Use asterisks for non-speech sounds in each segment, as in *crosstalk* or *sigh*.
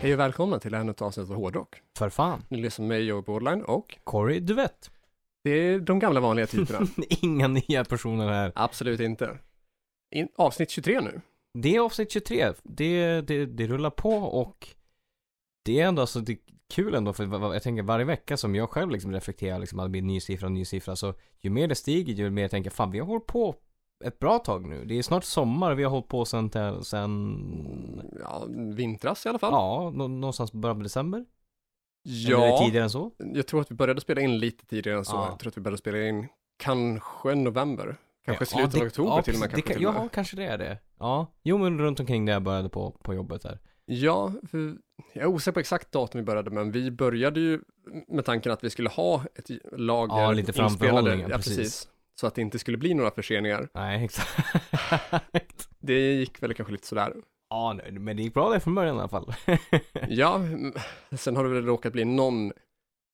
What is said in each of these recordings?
Hej och välkomna till ännu ett avsnitt av Hårdrock. För fan. Ni lyssnar på mig, Joey Borderline, och Corey Duvett. det är de gamla vanliga typerna. *laughs* Inga nya personer här. Absolut inte. In, avsnitt 23 nu. Det är avsnitt 23. Det, det, det rullar på och det är ändå alltså det är kul ändå för va- va- jag tänker varje vecka som jag själv liksom reflekterar liksom att det blir en ny siffra, en ny siffra. Så ju mer det stiger ju mer jag tänker fan vi har hållit på ett bra tag nu. Det är snart sommar vi har hållit på sen, till- sen Ja, vintras i alla fall. ja, nå- någonstans på början av december. Eller är det Ja, tidigare än så. jag tror att vi började spela in lite tidigare än så. Ja. Jag tror att vi började spela in kanske november. Kanske Ja, slutet det- av oktober ja, till och med. precis. Kanske det, till och kan- Ja, med. kanske det är det. Ja, jo men runt omkring där jag började på, på jobbet där. Ja, för jag är osäker på exakt datum vi började, men vi började ju med tanken att vi skulle ha ett lager Ja, lite inspelade. framförhållningen, Ja, precis. precis. Så att det inte skulle bli några förseningar. Nej, exakt. *laughs* Det gick väl kanske lite sådär. ja, nej, men det gick bra där från början i alla fall. Ja, m- sen har det väl råkat bli någon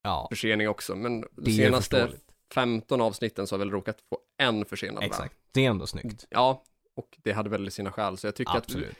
ja, försening också, men det de är senaste förståeligt. 15 avsnitten så har väl råkat få en försenad. va? Exakt, det är ändå snyggt. Ja, och det hade väl sina skäl, så jag tycker Absolut. att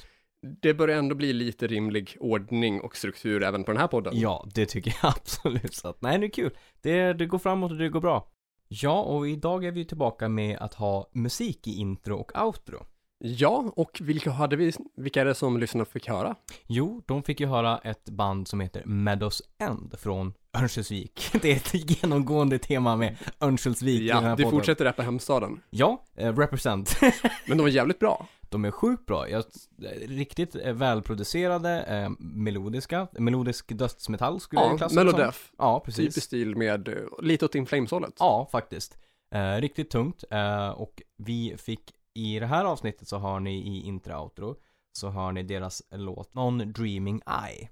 det börjar ändå bli lite rimlig ordning och struktur även på den här podden. Ja, det tycker jag *laughs* absolut. Så att, nej, det är kul. Det, det går framåt och det går bra. Ja, och idag är vi tillbaka med att ha musik i intro och outro. Ja, och vilka hade vi, vilka är det som lyssnarna fick höra? Jo, de fick ju höra ett band som heter Meadows End från Örnsköldsvik. *laughs* Det är ett genomgående tema med Örnsköldsvik i den Ja, här vi podden. fortsätter rappa hemstaden. Ja, eh, represent. Men de var jävligt bra. De är sjukt bra. Jag, riktigt eh, välproducerade, eh, melodiska. Melodisk dödsmetall skulle jag Ja, klassa det som. Melodef, Ja, precis. typisk stil med eh, lite åt In Flames-hållet. Ja, faktiskt. Eh, riktigt tungt. Eh, och vi fick i det här avsnittet så har ni i intra-outro så har ni deras låt Non Dreaming Eye.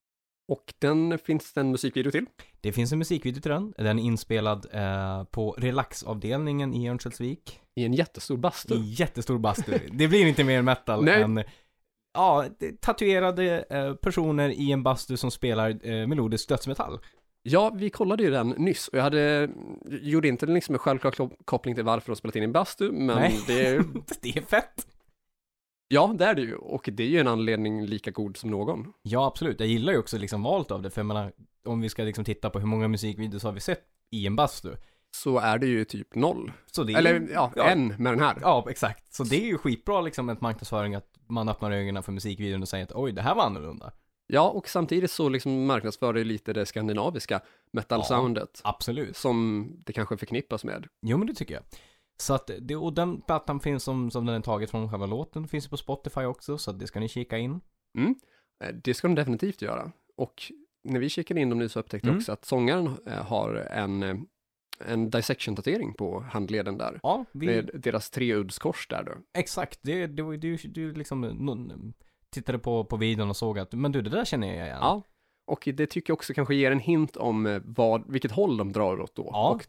Och den finns det en musikvideo till. Det finns en musikvideo till den. Den är inspelad eh, på relaxavdelningen i Örnsköldsvik. I en jättestor I bastu. en jättestor bastu. Det blir inte mer metal Nej. än ja, det- tatuerade eh, personer i en bastu som spelar eh, melodisk dödsmetall. Ja, vi kollade ju den nyss och jag hade, gjorde inte liksom en självklar kop- koppling till varför de spelat in i en bastu, men Nej. det är, *laughs* Det är fett! ja, det är det ju. Och det är ju en anledning lika god som någon. Ja, absolut. Jag gillar ju också liksom valt av det, för jag menar, om vi ska liksom titta på hur många musikvideos har vi sett i en bastu? Så är det ju typ noll. Så det är Eller ju, ja, ja. en med den här. ja, exakt. Så det är ju skitbra liksom ett marknadsföring att man öppnar ögonen för musikvideon och säger att oj, det här var annorlunda. Ja, och samtidigt så liksom marknadsför det lite det skandinaviska metal-soundet. Absolut. Som det kanske förknippas med. Jo, men det tycker jag. Så att, det, och den plattan finns som, som den är taget från själva låten, finns ju på Spotify också, så att det ska ni kika in. Eh, Det ska de definitivt göra. Och när vi kikade in dem nu så upptäckte jag Mm. också att sångaren eh, har en, eh, en dissection-tatuering på handleden där. Ja, vi, Det är deras treuddskors där då. exakt. Det, det var ju- du, du liksom någon, tittade på, på videon och såg att, men du, det där känner jag igen. Ja. Och det tycker jag också kanske ger en hint om eh, vad, vilket håll de drar åt då. Ja. Och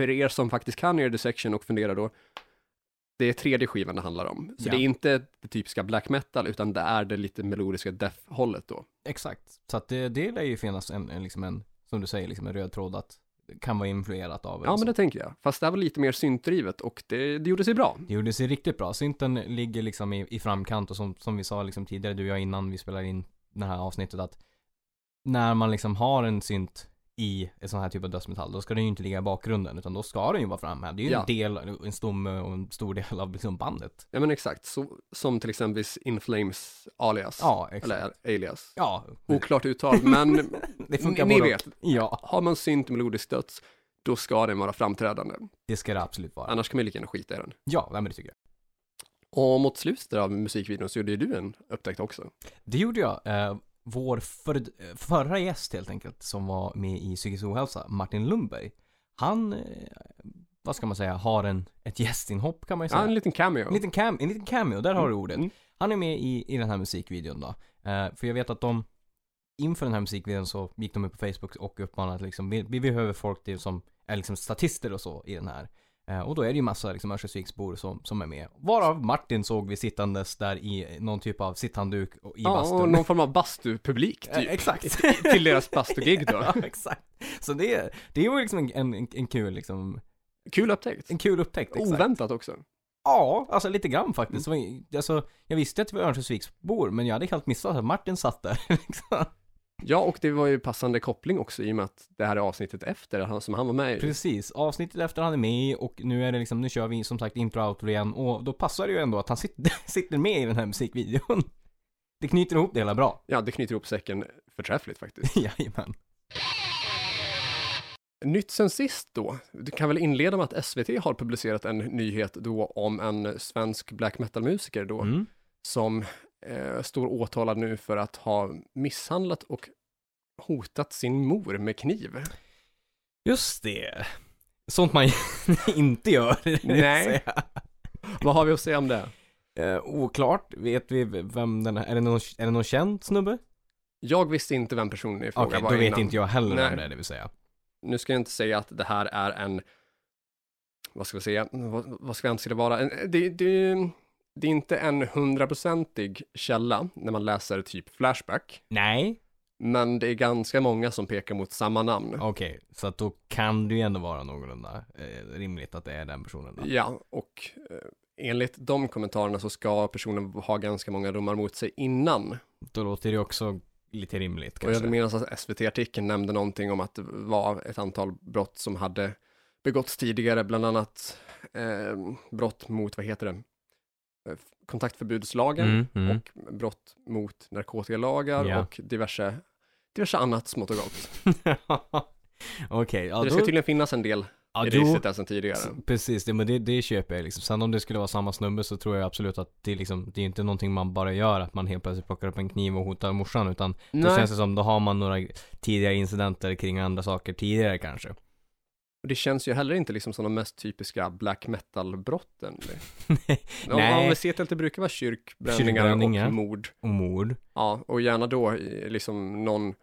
för er som faktiskt kan er dissection och funderar då, det är tredje skivan det handlar om. Så Ja. det är inte det typiska black metal, utan det är det lite melodiska death-hållet då. Exakt. Så att det, det lär ju finnas en, en, liksom en, som du säger, liksom en röd tråd att det kan vara influerat av. Ja, men det tänker jag. Fast det här var lite mer syntdrivet och det, det gjorde sig bra. det gjorde sig riktigt bra. Synten ligger liksom i, i framkant och som, som vi sa liksom tidigare, du och jag innan vi spelade in det här avsnittet att när man liksom har en synt i en sån här typ av dödsmetall, då ska den ju inte ligga i bakgrunden utan då ska den ju vara framme. Det är ju Ja. en del, en stomme och en stor del av liksom bandet. Ja, men exakt. Så, som till exempel In Flames alias. Ja, exakt. Eller alias. Ja, Oklart uttal, men *laughs* det ni, funkar ni både och. vet. Ja, Har man synt melodisk döds, då ska den vara framträdande. det ska det absolut vara. Annars kan man lika gärna skita i den. Ja, nej, men det tycker jag. Och mot slutet av musikvideon så gjorde ju du en upptäckt också. Det gjorde jag. Eh, vår för, förra gäst helt enkelt som var med i psykisk ohälsa, Martin Lundberg. Han, eh, vad ska man säga, har en, ett gästinhopp kan man ju Ja, säga. en liten cameo. en, liten cam, en liten cameo, där har du ordet. Mm. Han är med i, i den här musikvideon då. Eh, för jag vet att de, inför den här musikvideon så gick de ut på Facebook och uppmanade att liksom, vi, vi behöver folk till som är liksom statister och så i den här. Eh, och då är det ju massa liksom Örnsköldsviksbor som, som är med. Varav Martin såg vi sittandes där i någon typ av sitthandduk och- i Ja, bastun. och *laughs* någon form av bastupublik Ja, typ. exakt. *laughs* Till deras bastugig då. *laughs* ja, exakt. Så det, det var liksom en, en, en kul liksom, Kul upptäckt. en kul Oh, upptäckt. Exakt. Oväntat också. Ja, alltså lite grann faktiskt. Det var ju- Alltså, jag visste att det var Örnsköldsviksbor, men jag hade helt missat att Martin satt där. *laughs* Liksom. Ja, och det var ju passande koppling också i och med att det här är avsnittet efter han- som han var med i. Precis, avsnittet efter han är med och nu är det liksom, nu kör vi som sagt intro outro igen och då passar det ju ändå att han sitter, *laughs* sitter med i den här musikvideon. Det knyter ihop det hela bra. *laughs* Ja, det knyter ihop säcken förträffligt faktiskt. Jajamän. Nytt sen sist då. Du kan väl inleda med att SVT har publicerat en nyhet då om en svensk black metal-musiker då Mm. som eh, står åtalad nu för att ha misshandlat och hotat sin mor med kniv. Just det. Sånt man *laughs* inte gör. det vill Nej. säga. Vad har vi att säga om det? Eh, oklart, vet vi vem den här, är det någon, är det någon känd snubbe? Jag visste inte vem personen i fråga Okej, var då vet innan. inte jag heller Nej. vem det är, det vill säga. Nu ska jag inte säga att det här är en, vad ska vi säga, vad, vad ska vi anse det vara? En- Det, det, det är inte en hundraprocentig källa när man läser typ Flashback, Nej. men det är ganska många som pekar mot samma namn. Okej, så att då kan det ju ändå vara någorlunda eh, rimligt att det är den personen. då. Ja, och eh, enligt de kommentarerna så ska personen ha ganska många domar mot sig innan. Då låter det också lite rimligt Och jag kanske. vill minnas att SVT-artikeln nämnde någonting om att det var ett antal brott som hade begåtts tidigare, bland annat eh, brott mot, vad heter det, Eh, kontaktförbudslagen Mm, mm. och brott mot narkotikalagar Ja. och diverse, diverse annat smått och gott. *laughs* Okej, ja det då... ska tydligen finnas en del ja, i då- registret där sedan tidigare. s- Precis, det, men det, det köper jag liksom. Sen om det skulle vara samma snubbe så tror jag absolut att det är liksom, det är inte någonting man bara gör att man helt plötsligt plockar upp en kniv och hotar morsan utan då Nej, känns det som, då har man några tidigare incidenter kring andra saker tidigare kanske. *laughs* och det känns ju heller inte liksom som de mest typiska black metal-brotten. Om, om Nej. vi ser till att det brukar vara kyrkbränningar Kyrkbränningar. och mord, Och mord, ja, och gärna då i, liksom någon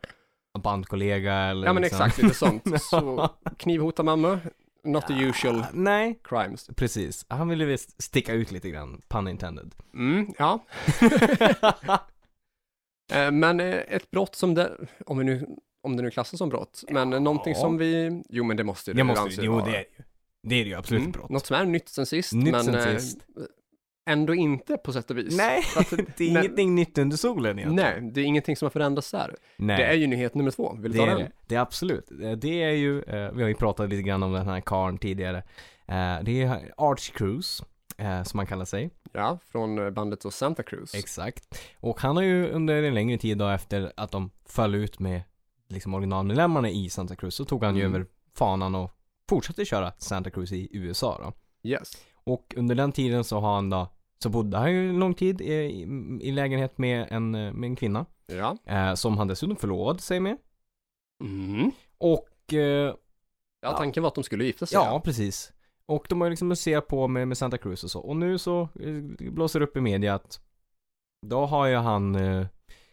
bandkollega eller Ja men liksom. exakt, lite *laughs* sånt. Så knivhota mamma, not the usual Ah, *laughs* Nej, crimes. precis. Han ville visst sticka ut lite grann, *laughs* pun intended. Mm, ja. Eh, Men eh, ett brott som det, om, vi nu, om det nu klassas som brott, men eh, någonting Ja. som vi, jo men det måste ju Jag måste, anses jo vara. det är det ju. Det är det ju absolut Mm, ett brott. Något som är nytt sen sist, Nytt men sen eh, sist. ändå inte på sätt och vis. Nej, För att *laughs* det är när- ingenting nytt under solen egentligen. Nej, det är ingenting som har förändrats där. Nej. Det är ju nyhet nummer två, vill du Det ta är den? det. Det är absolut. Eh, Det är ju, eh, vi har ju pratat lite grann om den här karln tidigare. Eh, det är Arch Cruise, eh, som han kallar sig. Ja, från eh, bandet och Santa Cruz. Exakt. Och han har ju under en längre tid då efter att de föll ut med liksom originalmedlemmarna i Santa Cruz så tog han ju Mm. över fanan och fortsatte köra Santa Cruz i USA då. yes. Och under den tiden så har han då, så bodde han ju en lång tid eh, i, i lägenhet med en, eh, med en kvinna. Ja. Eh, som han dessutom förlovade sig med. Mm. Och eh, Ja, Ja. tanken var att de skulle gifta sig. Ja, precis. Och de har ju liksom museat på med, med Santa Cruz och så. Och nu så eh, blåser det upp i media att då har ju han eh,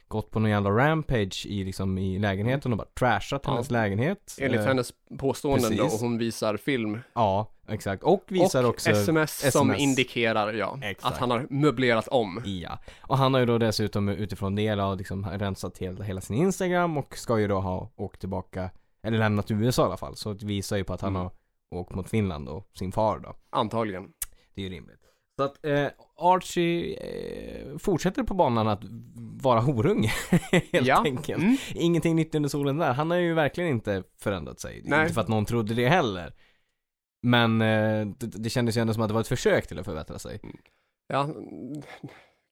gått på någon jävla rampage i, liksom, i lägenheten och bara trashat Ja. hennes lägenhet. Enligt Eh, hennes påståenden då, precis. och hon visar film Ja, exakt. Och visar och också... SMS, som SMS. indikerar, ja, Exakt. att han har möblerat om. Ja. Och han har ju då dessutom utifrån det då, liksom rensat hela, hela sin Instagram och ska ju då ha åkt tillbaka, eller lämnat USA i alla fall. Så det visar ju på att han Mm. har åkt mot Finland och sin far då. Antagligen. Det är ju rimligt. Så att eh, Archie eh, fortsätter på banan att vara horunge *laughs* helt ja. enkelt. Mm. Ingenting nytt under solen där. Han har ju verkligen inte förändrat sig. Nej. Inte för att någon trodde det heller. Men eh, det, det kändes ju ändå som att det var ett försök till att förbättra sig. Ja, mm,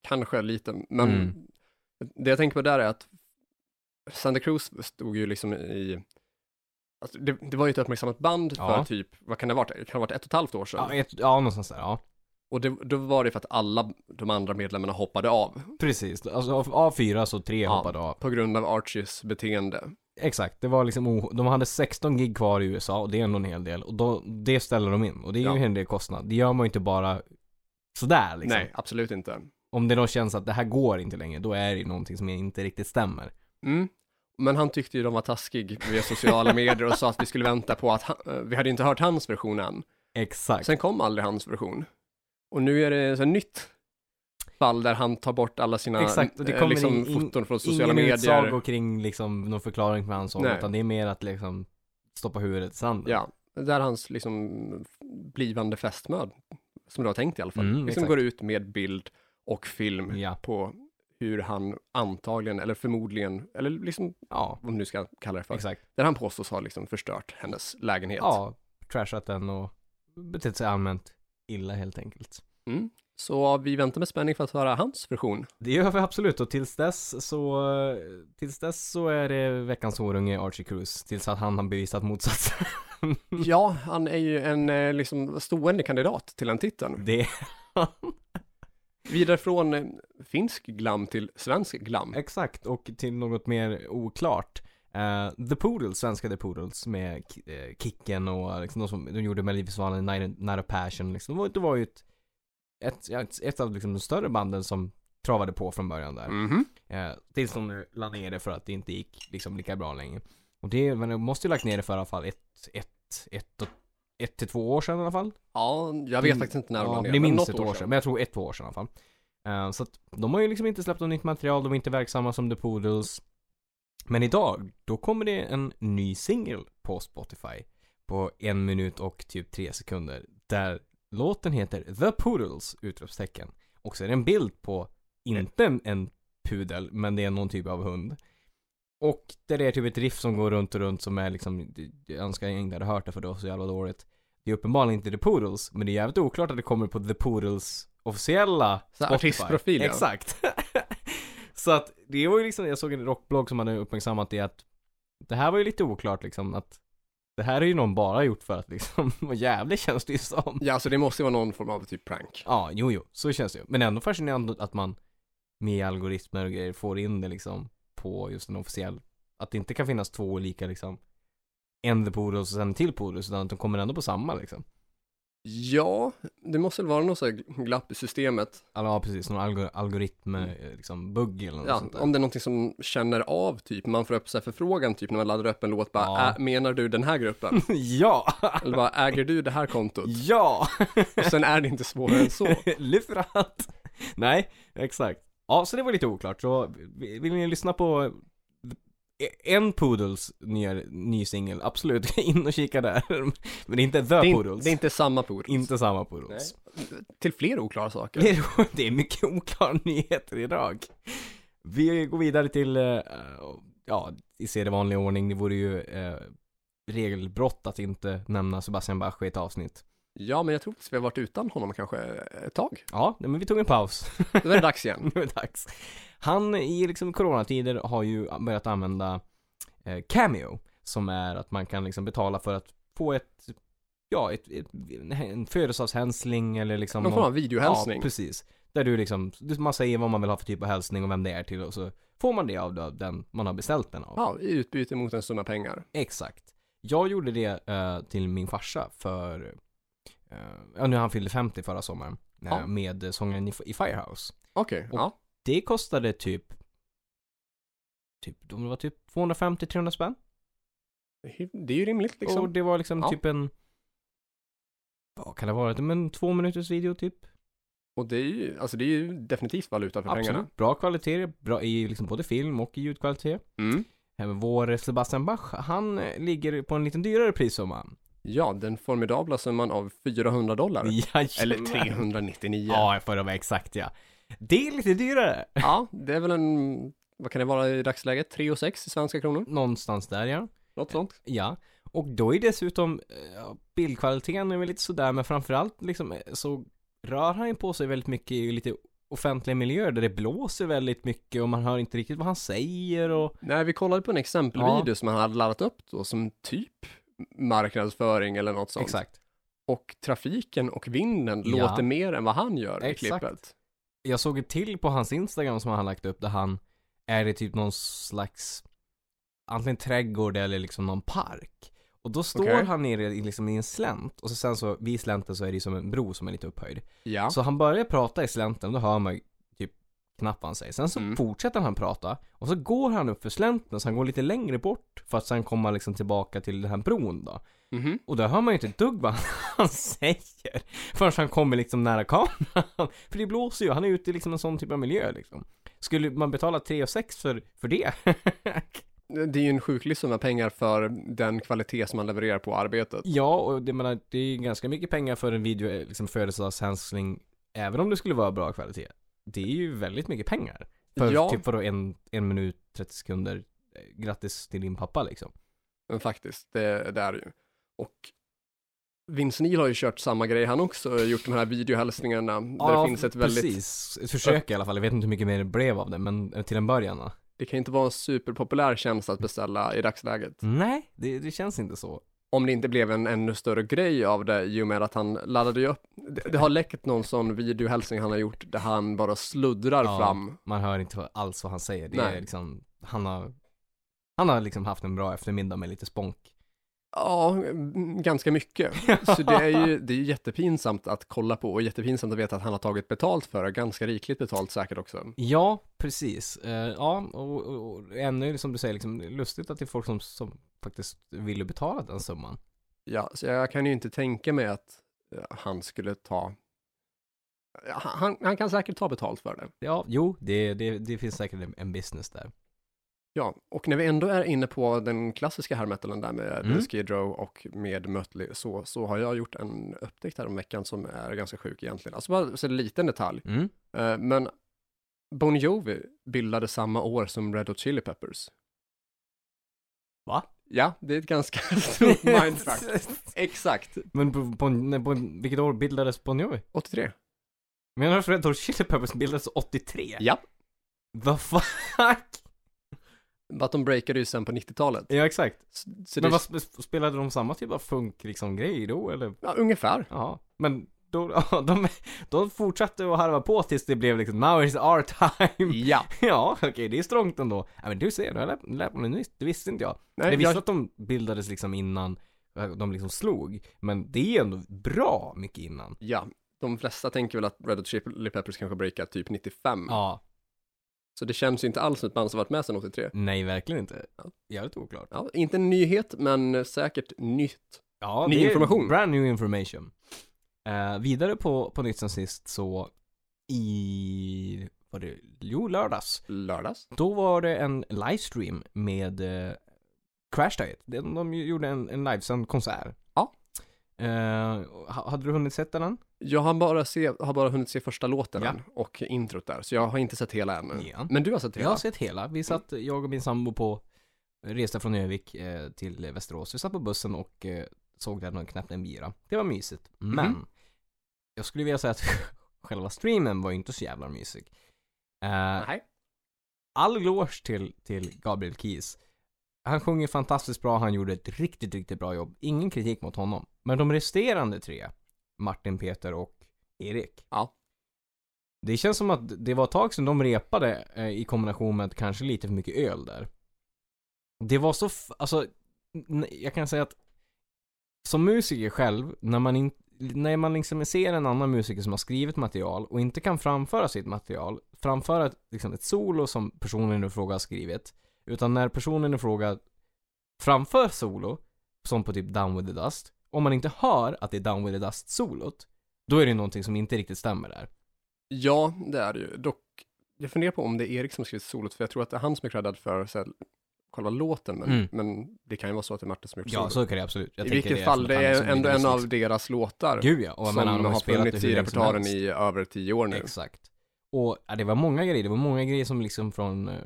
kanske lite, men Mm. det jag tänker på där är att Santa Cruz stod ju liksom i, alltså det, det var ju ett uppmärksammat band Ja. för typ, vad kan det ha varit, det kan ha varit ett och ett halvt år sedan. Ja, ett, ja någonstans där. Ja, Och det, då var det för att alla de andra medlemmarna hoppade av precis. Alltså av, av fyra så tre Ja. hoppade av. på grund av Archies beteende. Exakt, det var liksom, o- de hade 16 gig kvar i USA och det är ändå en hel del. Och då, det ställer de in och det är Ja. ju en del kostnad. Det gör man ju inte bara sådär liksom. Nej, absolut inte. Om det då känns att det här går inte längre, då är det ju någonting som inte riktigt stämmer. Mm. Men han tyckte ju de var taskig via sociala medier och sa att vi skulle vänta på att han, eh, vi hade inte hört hans version än. Exakt. Sen kom aldrig hans version. Och nu är det så ett nytt fall där han tar bort alla sina Exakt, och det eh, kommer liksom, in- in- foton från sociala Ingen medier. utsago kring liksom någon förklaring för hans Nej. sång, utan det är mer att liksom stoppa huvudet i sanden. Ja, där hans liksom blivande fästmö, som du har tänkt i alla fall, Mm, liksom exakt. går ut med bild och film Ja. på hur han antagligen, eller förmodligen, eller liksom, Ja, vad man nu ska kalla det för, exakt. där han påstås ha liksom förstört hennes lägenhet. Ja, trashat den och betett sig allmänt illa helt enkelt. Mm. Så vi väntar med spänning för att höra hans version. Det gör vi absolut och tills dess så, tills dess så är det veckans horunge Archie Cruz. Tills att han har bevisat motsatsen. *laughs* Mm. Ja, han är ju en eh, liksom stående kandidat till den titeln. Det, Vidare från eh, finsk glam till svensk glam. exakt, och till något mer oklart. Eh, The Poodles, svenska The Poodles med Ki- eh, Kicken och liksom de som de gjorde med Melodifestivalen, Night, Night of Passion liksom. Det var, det var ju ett, ett, ja, ett, ett av liksom de större banden som travade på från början där. Mhm. Eh, tills de nu la ner det för att det inte gick liksom lika bra längre. Och det, men de måste ju lagt ner det för i alla fall ett, ett, ett, och, ett till två år sedan i alla fall. Ja, jag vet Mm. faktiskt inte när de Ja, la ner, det är men minst något ett år sedan, men jag tror ett två år sedan i alla fall. Eh, så att de har ju liksom inte släppt något nytt material, de är inte verksamma som The Poodles. Men idag, då kommer det en ny singel på Spotify. På en minut och typ tre sekunder. Där låten heter The Poodles! Utropstecken. Och så är det en bild på, inte en, en pudel, men det är någon typ av hund. Och där det är typ ett riff som går runt och runt som är liksom, jag önskar jag inte hade hört det för det var så jävla dåligt. Det är uppenbarligen inte The Poodles, men det är jävligt oklart att det kommer på The Poodles officiella Så här, artistprofil, ja. Exakt. *laughs* så att det var ju liksom, jag såg en rockblogg som hade uppmärksammat det att det här var ju lite oklart liksom att det här är ju någon bara gjort för att liksom, *laughs* vad jävligt känns det ju som. Ja, så det måste ju vara någon form av typ prank. Ja, jo, jo, så känns det ju. Men ändå fascinerande att man med algoritmer och grejer får in det liksom på just en officiell, att det inte kan finnas två olika liksom, en The Poodles och sen en till Poodles, utan att de kommer ändå på samma liksom. Ja, det måste väl vara något så här glapp i systemet. Eller ja, precis, någon algor- algoritm, eh, liksom, bugg eller något Ja, sånt där. *laughs* om det är någonting som känner av typ, man får upp så här förfrågan typ när man laddar upp en låt bara, Ja. "Äh, menar du den här *laughs* gruppen? ja! Eller bara, äger du det här kontot? Ja! Och sen är det inte svårare *laughs* än så. Lurat! Nej, exakt. Ja, så det var lite oklart. Så vill vill ni lyssna på e-, en Poodles nya, ny singel, absolut, *laughs* in och kika där. Men det är inte The Det är, in- Poodles. det är inte samma poodles. Inte samma Poodles. *laughs* Till fler oklara saker. Det är, det är mycket oklara *laughs* nyheter idag. Vi går vidare till, eh, ja, i sedvanlig ordning, det vore ju eh, regelbrott att inte nämna Sebastian Bach i ett avsnitt. Ja, men jag tror att vi har varit utan honom kanske ett tag. Ja, men vi tog en paus. *laughs* Nu är det dags igen. nu är det dags. Han i liksom coronatider har ju börjat använda eh, Cameo, som är att man kan liksom betala för att få ett, ja, ett, ett, en födelsedagshälsning eller liksom Någon form av Ja, videohälsning. precis. Där du liksom, man säger vad man vill ha för typ av hälsning och vem det är till och så får man det av då- den man har beställt den av. Ja, i utbyte mot en summa pengar. Exakt. Jag gjorde det eh, till min farsa för, eh, ja nu han fyllde 50 förra sommaren, eh, Ja. med sångaren i, i Firehouse. Okej, Och- ja. Det kostade typ, typ, de var typ 250-300 spänn. Det är ju rimligt liksom. Och det var liksom Ja. typ en, vad kan det vara, men två minuters video typ. Och det är ju, alltså det är ju definitivt valuta för pengarna. Absolut, bra kvalitet, bra i liksom både film och i ljudkvalitet. Mm. Eh, Vår Sebastian Bach, han eh, ligger på en liten dyrare prissumma. Ja, den formidabla summan av 400 dollar. *laughs* Jajamän. Eller 399. Ja, för att vara exakt ja. Det är lite dyrare. Ja, det är väl en, vad kan det vara i dagsläget? 3 och 6 i svenska kronor? Någonstans där ja. Något sånt. Ja. Och då är dessutom eh, ja, bildkvaliteten är väl lite sådär, men framförallt liksom eh, så rör han ju på sig väldigt mycket i lite offentliga miljöer där det blåser väldigt mycket och man hör inte riktigt vad han säger och Nej, vi kollade på en exempelvideo som han hade laddat upp då som typ marknadsföring eller något sånt. Exakt. Och trafiken och vinden Ja. låter mer än vad han gör i Exakt. klippet. jag såg ett till på hans Instagram som han lagt upp där han är i typ någon slags antingen trädgård eller liksom någon park. Och då står Okej. han nere i, liksom, i en slänt och så sen så vid slänten så är det ju som en bro som är lite upphöjd. Ja. Så han börjar prata i slänten och då hör man ju typ knappt vad han säger. Sen så Mm. fortsätter han prata och så går han upp för slänten så han går lite längre bort för att sen komma liksom tillbaka till den här bron då. Mhm. Och där hör man ju inte ett dugg vad han *laughs* säger förrän han kommer liksom nära kameran. *laughs* För det blåser ju, han är ute i liksom en sån typ av miljö liksom. Skulle man betala 3 och 6 för, för det? *laughs* Det är ju en sjuklig summa pengar för den kvalitet som man levererar på arbetet. ja, och det, menar, det är ju ganska mycket pengar för en video, eh, liksom födelsedagshälsning, även om det skulle vara bra kvalitet. Det är ju väldigt mycket pengar För Ja. typ vadå en, en minut, 30 sekunder. Eh, Grattis till din pappa liksom. Men faktiskt, det, det är det ju. Och Vince Neil har ju kört samma grej han också, gjort de här videohälsningarna där det finns ett väldigt, precis. Ett försök i alla fall. Jag vet inte hur mycket mer det blev av det, men eh, till en början. va? det kan ju inte vara en superpopulär tjänst att beställa i dagsläget. Nej, det, det känns inte så. om det inte blev en ännu större grej av det i och med att han laddade ju upp. Det, det har läckt någon sån videohälsning han har gjort där han bara sluddrar Ja. fram. Man hör inte vad- alls vad han säger. Det Nej. är liksom, han har, han har liksom haft en bra eftermiddag med lite spånk. Ja, mm, ganska mycket. *laughs* Så det är ju det är ju jättepinsamt att kolla på och jättepinsamt att veta att han har tagit betalt för det, ganska rikligt betalt säkert också. *laughs* Ja, precis. Eh, ja, och, och, och ännu som du säger, liksom, det är lustigt att det är folk som, som faktiskt ville betala den summan. Ja, så jag kan ju inte tänka mig att ja, han skulle ta... Ja, Han, han kan säkert ta betalt för det. Ja, jo, det, det, det finns säkert en, en business där. Ja, och när vi ändå är inne på den klassiska härmetalen där med Mm. Skid Row och med Mötley, så, så har jag gjort en upptäckt här om veckan som är ganska sjuk egentligen. Alltså bara så en liten detalj. Mm. Eh, Men Bon Jovi bildade samma år som Red Hot Chili Peppers. Va? Ja, det är ett *laughs* ganska stort mindfuck. Exakt, Men på, på, när- på, vilket år bildades Bon Jovi? 83. Menar du att Red Hot Chili Peppers bildades 83? Ja, Vad fuck? *laughs* but de breakade ju sen på 90-talet. Ja, exakt. Så, så det, Men vad, sp- spelade de samma typ av funk liksom grej då eller? ja, ungefär. Ja, men då, *laughs* ja, de, de fortsatte att harva på tills det blev liksom Now is our time. Ja, *laughs* Ja, okej, det är strångt ändå. Ja, men du ser, du har lärt, lärt mig något nytt. Det visste inte jag. Nej, jag visste jag- att de bildades liksom innan eh, de liksom slog, men det är ändå bra mycket innan. ja. De flesta tänker väl att Red Hot Chili Peppers kanske breakade typ 95. Ja, Så det känns ju inte alls som ett band som varit med sedan 83. nej verkligen inte. Ja. Jävligt oklart. Ja, inte en nyhet, men säkert nytt. Ja, Ny det är information. Brand new information. Eh, vidare på, på nytt sen sist så i, var det, jo lördags. Lördags? Då var det en livestream med eh, Crash Diet. De, de gjorde en, en livesänd konsert. Ja. Eh, ha- hade du hunnit sett den än? Jag har bara, se, har bara hunnit se första låten Ja. än och introt där, så jag har inte sett hela än. Ja. Men du har sett Jag har hela? sett hela. Vi satt, jag och min sambo på, reste från Övik eh, till Västerås. Vi satt på bussen och eh, såg den och knäppte en bira. Det var mysigt. Men, Mhm. jag skulle vilja säga att *laughs* själva streamen var ju inte så jävla mysig. Eh, Nej. all eloge till, till Gabriel Keys. Han sjunger fantastiskt bra, han gjorde ett riktigt, riktigt bra jobb. Ingen kritik mot honom. Men de resterande tre, Martin, Peter och Erik. Ja. Det känns som att det var ett tag sedan de repade eh, i kombination med kanske lite för mycket öl där. Det var så, f- alltså, n- jag kan säga att som musiker själv, när man, in, när man liksom ser en annan musiker som har skrivit material och inte kan framföra sitt material, framföra ett, liksom ett solo som personen i fråga har skrivit, utan när personen i fråga framför solo, som på typ Down with the Dust, om man inte hör att det är Down with the Dust-solot, då är det någonting som inte riktigt stämmer där. Ja, det är det ju. Dock, jag funderar på om det är Erik som skrivit solot, för jag tror att det är han som är creddad för så här, själva låten, men, Mm. men det kan ju vara så att det är Martin som gjort Ja, solot. så kan det absolut. Jag I tänker vilket är fall, som det att han är liksom ändå bildar en sig av deras låtar Gud ja, och jag som menar, han har, har spelat det funnits hur i länge som repertoaren helst. i över tio år nu. Exakt. Och ja, det var många grejer, det var många grejer som liksom från eh,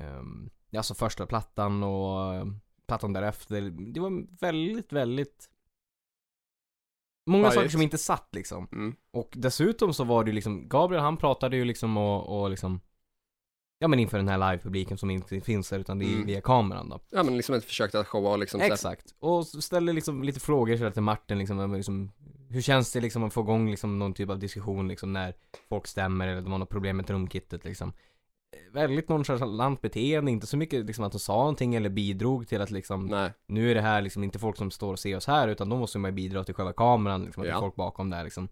ehm, Alltså första plattan och eh, plattan därefter. Det var väldigt, väldigt Många Pajigt. saker som inte satt liksom. Mm. Och dessutom så var det ju liksom, Gabriel han pratade ju liksom och, och liksom Ja men inför den här livepubliken som inte finns där utan det är Mm. via kameran då. Ja, men liksom ett försök att showa och liksom så här- Exakt. Och s- ställde liksom lite frågor sådär till Martin liksom, men liksom, hur känns det liksom att få igång liksom någon typ av diskussion liksom när folk stämmer eller de har något problem med trumkittet liksom. Eh, Väldigt nonchalant beteende, inte så mycket liksom att de sa någonting eller bidrog till att liksom Nej, nu är det här liksom inte folk som står och ser oss här utan då måste man ju bidra till själva kameran liksom, att det Ja. är folk bakom där liksom.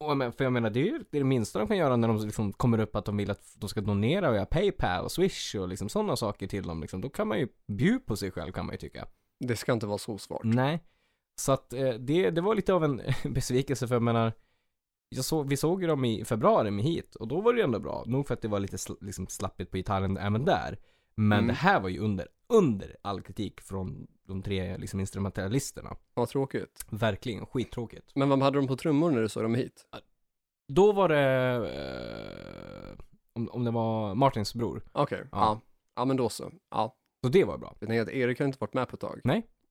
Och, jag men- för jag menar det är ju det, är det minsta de kan göra när de liksom kommer upp att de vill att de ska donera och göra Paypal och Swish och liksom sådana saker till dem liksom. Då kan man ju bjuda på sig själv kan man ju tycka. det ska inte vara så svårt. Nej. Så att eh, det, det var lite av en *laughs* besvikelse för jag menar, jag såg, vi såg ju dem i februari med hit och då var det ju ändå bra. Nog för att det var lite sl, liksom slappigt på gitarren även där. Men Mm. det här var ju under, under all kritik från de tre liksom instrumentalisterna. Vad tråkigt. Verkligen skittråkigt. Men vad hade de på trummor när du såg dem hit? Då var det, eh, om, om det var Martins bror. Okej, ja. ja. men då så. Ja. Så det var bra. Jag tänker att Erik har inte varit med på ett tag.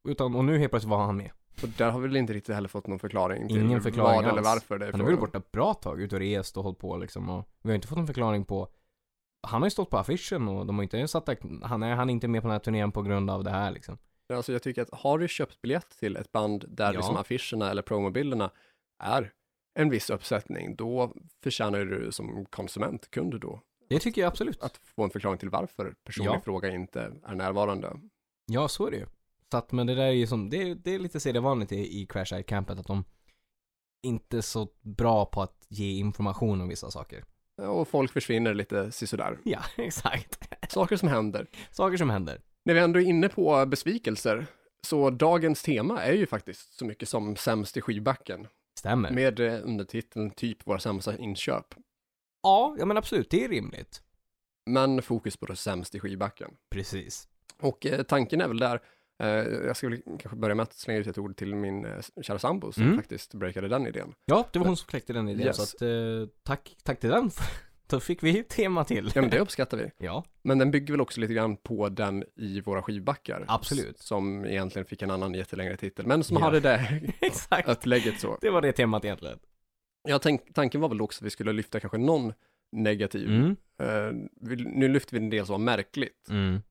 Utan, och nu helt plötsligt var han med. Och där har vi väl inte riktigt heller fått någon förklaring till Ingen förklaring vad eller alls. varför det är Han har varit frågan. borta ett bra tag, ute och rest och hållit på liksom. Och vi har inte fått någon förklaring på han har ju stått på affischen och de har inte ens satt att han är, han är inte med på den här turnén på grund av det här liksom. Alltså jag tycker att har du köpt biljett till ett band där Ja. liksom affischerna eller promobilderna är en viss uppsättning, då förtjänar du som konsument, kund då, Det tycker jag absolut. att få en förklaring till varför personen i Ja. fråga inte är närvarande. Ja, så är det ju. Så att, men det där är ju som, det, är- det är lite sedvanligt i, i Crash Eye Campet att de inte är så bra på att ge information om vissa saker. Och folk försvinner lite sisådär. *laughs* Ja, exakt. Saker som händer. Saker som händer. När vi ändå är inne på besvikelser, så dagens tema är ju faktiskt så mycket som sämst i skivbacken. Stämmer. Med eh, undertiteln typ våra sämsta inköp. Ja, ja men absolut, det är rimligt. Men fokus på det sämst i skivbacken. Precis. Och eh, tanken är väl där, eh, jag ska väl kanske börja med att slänga ut ett ord till min eh, kära sambo som Mm. faktiskt breakade den idén. Ja, det var hon som kläckte den idén Yes. så att eh, tack, tack till den. *laughs* Då fick vi ett tema till. Ja men det uppskattar vi. *laughs* Ja, Men den bygger väl också lite grann på den i våra skivbackar. Absolut. S- Som egentligen fick en annan jättelängre titel, men som Ja. hade *laughs* det exakt. upplägget så. Det var det temat egentligen. Jag tänk, tanken var väl också att vi skulle lyfta kanske någon negativ. Mm. Eh, vi, nu lyfter vi en del som var märkligt, Mm.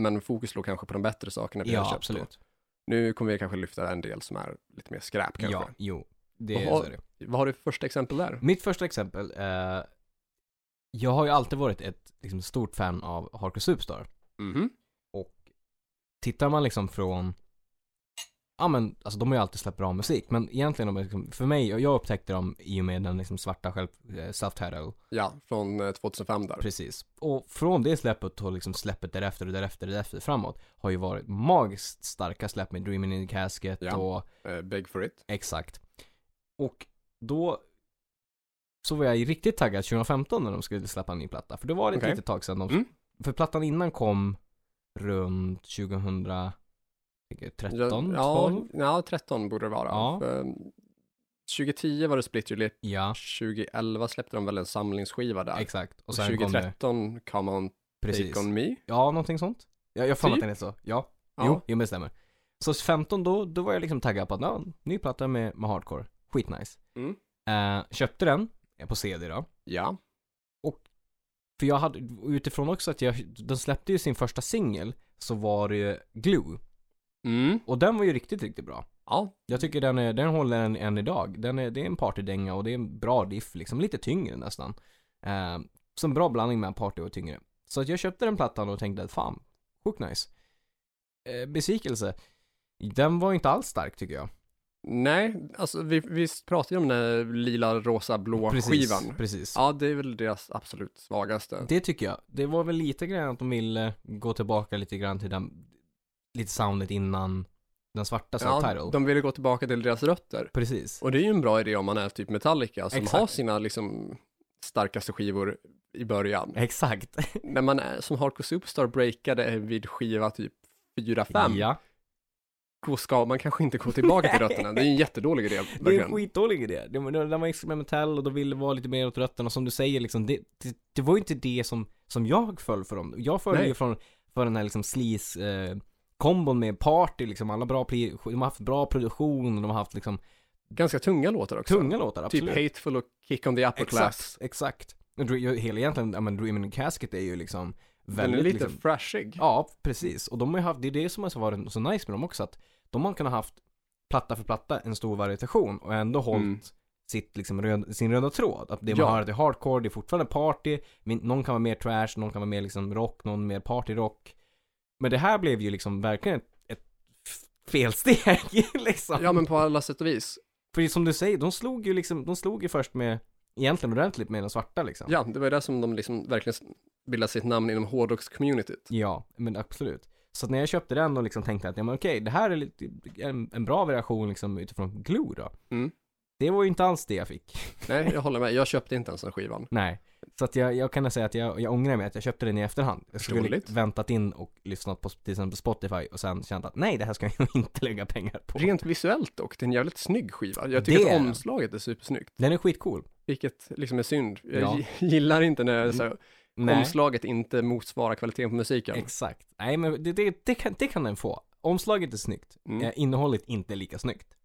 men fokus låg kanske på de bättre sakerna vi har Ja, köpt. då. absolut. Nu kommer vi kanske lyfta en del som är lite mer skräp kanske. Ja, jo. Det, Vad har- så är det. Vad har du för första exempel där? Mitt första exempel, eh, jag har ju alltid varit ett liksom, stort fan av Hardcore Superstar. Mhm. Tittar man liksom från, ja men alltså de har ju alltid släppt bra musik, men egentligen om jag liksom, för mig, jag- jag upptäckte dem i och med den liksom svarta själv, eh, self-title, Ja, från eh, 2005 där. precis. Och från det släppet och liksom släppet därefter och därefter och därefter framåt har ju varit magiskt starka släpp med Dreaming in the Casket Ja. och Eh, Beg for it. Exakt. Och då så var jag ju riktigt taggad 2015 när de skulle släppa en ny platta. För det var det Okej. ett litet tag sedan. De, Mm. För plattan innan kom runt eh, 2013, Ja, 12? ja, 13 borde det vara. Ja. För 2010 var det Split Your Lip, Ja, 2011 släppte de väl en samlingsskiva där. exakt. Och Och sen kom det, 2013 Come On precis. Take On Me. Ja, någonting sånt. Ja, jag har för mig att Typ. den är så. Ja, Ja. jo, jo men det stämmer. Så 15 då, då var jag liksom taggad på att, ja, ny platta med, med hardcore. Skitnice. Mm. Eh, köpte den, eh, på CD då. Ja. För jag hade, utifrån också att jag, de släppte ju sin första singel, så var det ju Glue. Mm. Och den var ju riktigt, riktigt bra. Ja. Jag tycker den, är, den håller än, än idag. Den är, det är en partydänga och det är en bra riff liksom, lite tyngre nästan. Eh, så en bra blandning mellan party och tyngre. Så att jag köpte den plattan och tänkte att fan, sjukt nice. Eh, besvikelse. Den var ju inte alls stark tycker jag. Nej, alltså vi, vi pratade ju om den här lila, rosa, blå skivan. precis. Ja, det är väl deras absolut svagaste. Det tycker jag. Det var väl lite grann att de ville gå tillbaka lite grann till den, lite soundet innan den svarta subtitle. Ja, de ville gå tillbaka till deras rötter. Precis. Och det är ju en bra idé om man är typ Metallica som Exakt. har sina liksom starkaste skivor i *laughs* början. Exakt. När man är, som Hardcore Superstar breakade vid skiva typ 4-5, Ja. då ska man kanske inte gå tillbaka till rötterna. Det är en jättedålig idé, Det är en verkligen. skitdålig idé. Det var- Den var experimentell och de ville vara lite mer åt rötterna. Som du säger liksom, det, det, det var ju inte det som, som jag föll för dem. Jag föll Nej. ju från, för den här liksom sleaze eh, kombon med party liksom. Alla bra, pli- de har haft bra produktion och de har haft liksom Ganska tunga låtar också. tunga låtar. typ Absolut. Hateful och Kick on the Upper Class. Exakt, exakt. Och dre- ju- Hela egentligen, ja men Dreaming in Casket är ju liksom Den väldigt är lite liksom, frashig. Ja, precis. Och de har ju haft, det är det som har varit så nice med dem också att de har kunnat haft platta för platta en stor variation och ändå hållit Mm. sitt, liksom, röd, sin röda tråd. Att det man Ja. hör att det är hardcore, det är fortfarande party, men någon kan vara mer trash, någon kan vara mer liksom rock, någon mer partyrock. Men det här blev ju liksom verkligen ett, ett f- felsteg *laughs* liksom. Ja, men på alla sätt och vis. För som du säger, de slog ju liksom, de slog ju först med, egentligen ordentligt med den svarta liksom. Ja, det var ju där som de liksom verkligen bildade sitt namn inom hårdrocks-communityt. Ja, men absolut. Så att när jag köpte den och liksom tänkte att ja, men okej, det här är lite, en, en bra variation liksom utifrån Glue då. Mm. Det var ju inte alls det jag fick. *laughs* Nej, jag håller med. Jag köpte inte ens den skivan. Nej. Så att jag, jag kan säga att jag, jag ångrar mig att jag köpte den i efterhand. Jag skulle Förståeligt. väntat in och lyssnat på till exempel Spotify och sen känt att nej, det här ska jag *laughs* inte lägga pengar på. Rent visuellt dock, det är en jävligt snygg skiva. Jag tycker Det är att den. omslaget är supersnyggt, Den är skitcool. vilket liksom är synd. Jag Ja. Mm. gi- *laughs* gillar inte när så, här, Nej, omslaget inte motsvarar kvaliteten på musiken. exakt. Nej, men det, det, det, kan, det kan den få. Omslaget är snyggt. Mm. Eh, innehållet inte lika snyggt.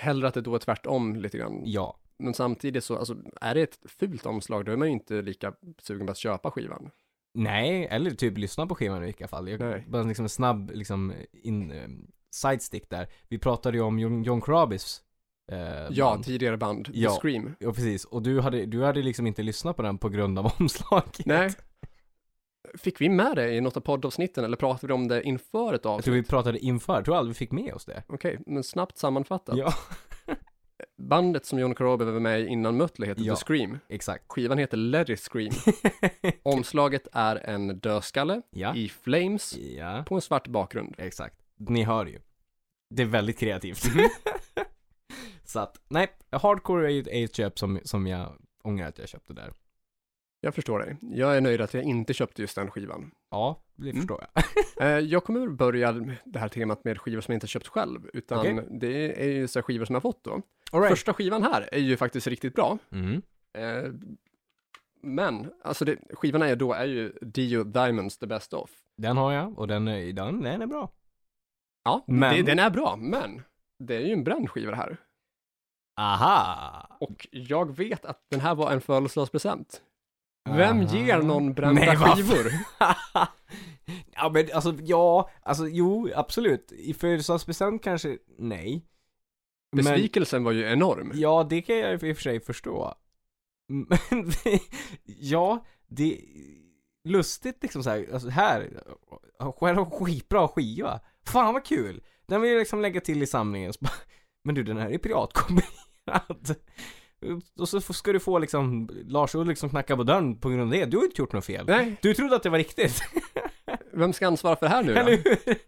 Hellre att det då är tvärtom lite grann. Ja. Men samtidigt så, alltså, är det ett fult omslag, då är man ju inte lika sugen på att köpa skivan. Nej, eller typ lyssna på skivan i vilka fall. Nej. Jag, bara liksom en snabb liksom in, eh, sidestick där. Vi pratade ju om John, John Carabis. Eh, Ja, band. tidigare band, Ja. The *laughs* Scream. Ja, precis. Och du hade, du hade liksom inte lyssnat på den på grund av *laughs* omslaget. Nej. Fick vi med det i något av poddavsnitten eller pratade vi om det inför ett Jag tror vi avsnitt? pratade inför, jag tror aldrig vi fick med oss det. Okej, men snabbt sammanfattat. Ja, *laughs* Bandet som John Corabi var med i innan Mötley heter Ja. The Scream. exakt. *laughs* Skivan heter Let It Scream. Omslaget är en dödskalle ja. i flames ja, på en svart bakgrund. exakt. Ni hör ju. Det är väldigt kreativt. Mm. *laughs* Så att, nej, hardcore är ju ett- är ett köp som, som jag ångrar att jag köpte där. Jag förstår dig. Jag är nöjd att jag inte köpte just den skivan. Ja, det Mm. förstår jag. Eh, jag kommer väl börja med det här temat med skivor som jag inte köpt själv, utan Okej. det är ju så här skivor som jag fått då. All right. Första skivan här är ju faktiskt riktigt bra. Mm. Eh, men, alltså det, skivorna är då är ju Dio Diamonds The Best Of. Den har jag och den är, den, den är bra. Ja, Men- det, den är bra, men det är ju en bränd skiva det här. Aha! Och jag vet att den här var en födelsedagspresent. Vem Aha. ger någon brända Nej, vad- skivor? ja men alltså ja, alltså jo absolut. I födelsedagspresent kanske nej. *laughs* Men Besvikelsen var ju enorm. ja, det kan jag i och för sig förstå. Men *laughs* det- ja, det är lustigt liksom så här, alltså här, själv skitbra skiva. Fan vad kul! Den vill jag liksom lägga till i samlingen. Så bara, *laughs* Men du den här är piratkopierad. *laughs* Och så ska du få liksom Lars Ulrik som knackar på dörren på grund av det. Du har ju inte gjort något fel. Nej, Du trodde att det var riktigt. *laughs* vem ska ansvara för det här nu Eller då? hur?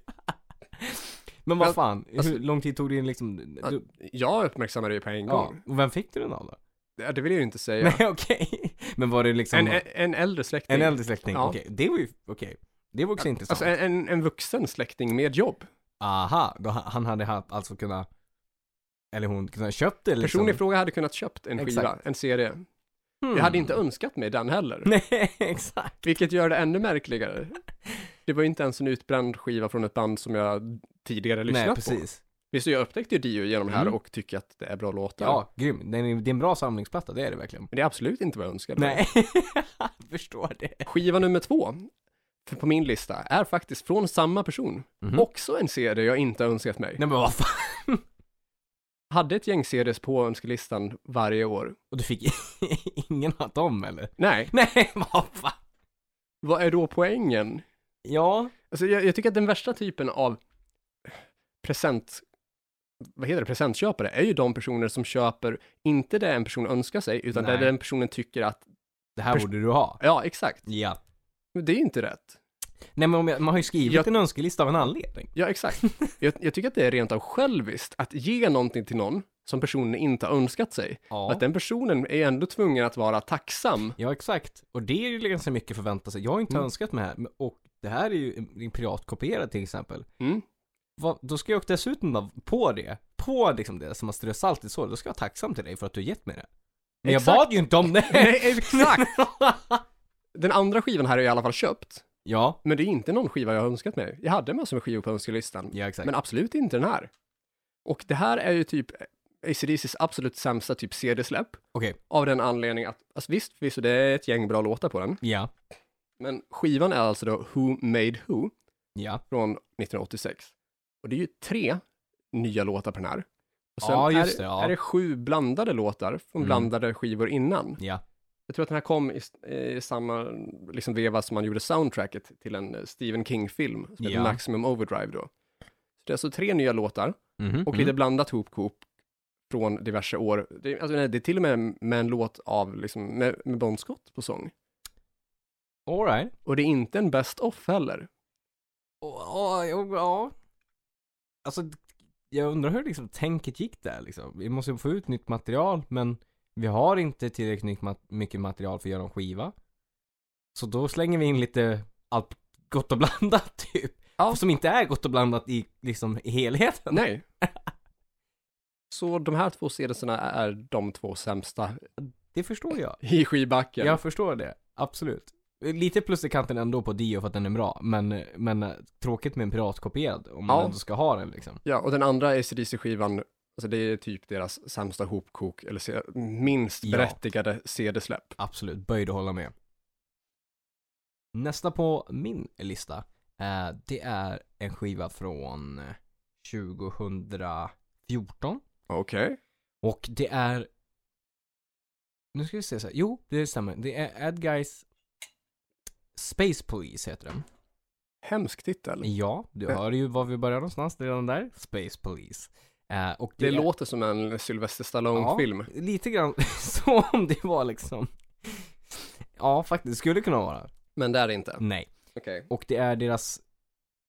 Men vad Men, fan, alltså- hur lång tid tog det in liksom? Du, Jag uppmärksammade det ju på en ja, gång. och vem fick du den av då? Ja. Det vill jag ju inte säga. Nej *laughs* okej. Men var det liksom En, en, en, en äldre släkting. äldre släkting? Ja. Okej, det var ju, okej. Det var också intressant. Alltså en, en, en vuxen släkting med jobb. Liksom. Aha, då han han hade ha- alltså kunnat, eller hon, kunnat köpt det liksom. Personen i fråga hade kunnat köpt en skiva, Exakt. en serie. Hmm. *laughs* Jag hade inte önskat mig den heller, Nej, exakt. vilket gör det ännu märkligare. Det var ju inte ens en utbränd skiva från ett band som jag tidigare lyssnat Nej, på. precis. Visst, jag upptäckte ju Dio genom det här Mm. och tycker att det är bra låtar. Ja, grym. Det är, det är en bra samlingsplatta, det är det verkligen. Men det är absolut inte vad jag önskade. mig. Nej, *laughs* jag förstår det. Skiva nummer två för- på min lista är faktiskt från samma person. Mhm. Också en serie jag inte önskat mig. Nej men vad fan. Hade ett gäng series på önskelistan varje år. Och du fick *laughs* ingen av dem eller? *laughs* Nej, Nej, vad fan. vad är då poängen? Ja, Alltså jag, jag tycker att den värsta typen av present, vad heter det, presentköpare är ju de personer som köper, inte det en person önskar sig, utan det Nej. den personen tycker att, det här Pers- borde du ha. ja exakt, Ja. Men det är ju inte rätt. Nej men om jag, man har ju skrivit Jag- en önskelista av en anledning. Ja exakt. jag, jag tycker att det är rent av själviskt att ge någonting till någon som personen inte har önskat sig. Ja. Att den personen är ändå tvungen att vara tacksam. ja, exakt. Och det är ju ganska mycket förvänta sig. Jag har inte Mm. önskat mig det här. men- Och det här är ju en- en piratkopierad till exempel. *laughs* Mm. Vad, då ska jag också dessutom vara på det, på liksom det som man strör salt i såret, då ska jag vara tacksam till dig för att du gett mig det. Men Exakt. jag bad ju inte om det! Nej, exakt! Den andra skivan här har jag i alla fall köpt, *laughs* ja, men det är inte någon skiva jag har önskat mig. Jag hade massor med skivor på önskelistan. ja exakt. Men absolut inte den här. Och det här är ju typ ACDCs absolut sämsta typ CD-släpp. Okej, Av den anledningen att, alltså visst, visst, det är ett gäng bra låtar på den. ja, Men skivan är alltså då Who Made Who ja. från 1986. Och det är ju tre nya låtar på den här. Och Ja, är, just det, ja. är det sju blandade låtar från Mm. blandade skivor innan. Ja, Jag tror att den här kom i, i samma liksom, veva som man gjorde soundtracket till en eh, Stephen King-film som heter Ja. Maximum Overdrive då. Så det är alltså tre nya låtar mhm, och mhm. lite blandat hopkok från diverse år. Det, alltså, nej, det är till och med med en låt av, liksom, med, med Bon Scott på sång. All right. Och det är inte en best off heller. Ja, ja, ja. Alltså, jag undrar hur liksom tänket gick där liksom. Vi måste ju få ut nytt material, men Vi har inte tillräckligt mat- mycket material för att göra en skiva. Så då slänger vi in lite allt gott och blandat *laughs* typ. Ja. Som inte är gott och blandat i liksom i *laughs* helheten. Nej. Så de här två sedelserna är de två sämsta Det förstår jag. i skivbacken. Jag förstår det. Absolut. Lite plus i kanten ändå på Dio för att den är bra. Men, men eh, tråkigt med en piratkopierad om man Ja. ändå ska ha den liksom. Ja, och den andra ACDC-skivan, alltså det är typ deras sämsta hopkok, eller se- minst Ja. berättigade CD-släpp. Absolut, böjd att hålla med. Nästa på min lista, eh, det är en skiva från eh, 2014. Okej. Och det är... Nu ska vi se så här. Jo, det stämmer. Det är Ad Guys Space Police heter den. Hemsk titel. Ja, du Ja. hör ju var vi börjar någonstans redan där. Space Police. Eh, och Det är- låter som en Sylvester Stallone-film. lite grann *laughs* som om det var liksom... Ja, faktiskt. Skulle kunna vara. Men det är det inte. Nej. Okej. Och det är deras,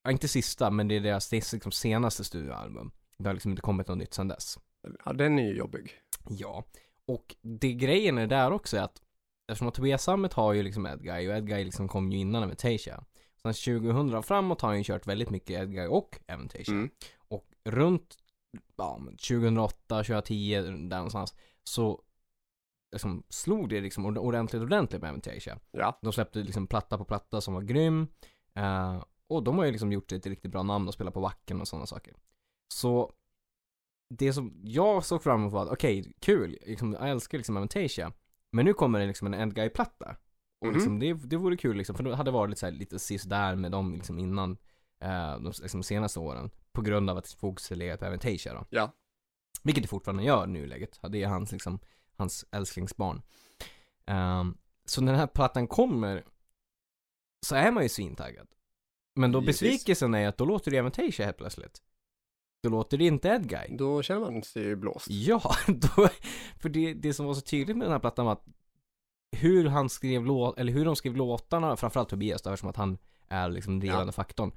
ja, inte sista, men det är deras det är liksom senaste studioalbum. Det har liksom inte kommit något nytt sedan dess. Ja, den är ju jobbig. Ja. Och det grejen är där också är att eftersom att Tobias Sammet har ju liksom Edguy och Edguy liksom kom ju innan Aventasia. Sen 2000 framåt har han ju kört väldigt mycket Edguy och Aventasia. Mm. Och runt ja, men 2008, 2010 där någonstans så liksom slog det liksom ord- ordentligt, ordentligt med Aventasia. Ja. De släppte liksom platta på platta som var grym. Eh, och de har ju liksom gjort ett riktigt bra namn och spelat på Wacken och sådana saker. Så det som jag såg fram emot var att okej, kul, liksom, jag älskar liksom Aventasia. Men nu kommer det liksom en Endguy-platta. Och Mhm. liksom, det, det vore kul liksom, för det hade varit lite, så här, lite sisådär med dem liksom innan eh, de liksom, senaste åren. På grund av att fokuset legat på Aventasia då. Ja. Vilket det fortfarande gör i nuläget. Ja, Det är hans, liksom, hans älsklingsbarn. Ehm, så när den här plattan kommer så är man ju svintaggad. Men då Givetvis. besvikelsen är att då låter det Aventasia helt plötsligt. Då låter det inte Ed Guy. Då känner man sig ju blåst. Ja, *laughs* då, för det, det som var så tydligt med den här plattan var att hur han skrev låt, eller hur de skrev låtarna, framförallt Tobias då, som att han är liksom drivande faktorn.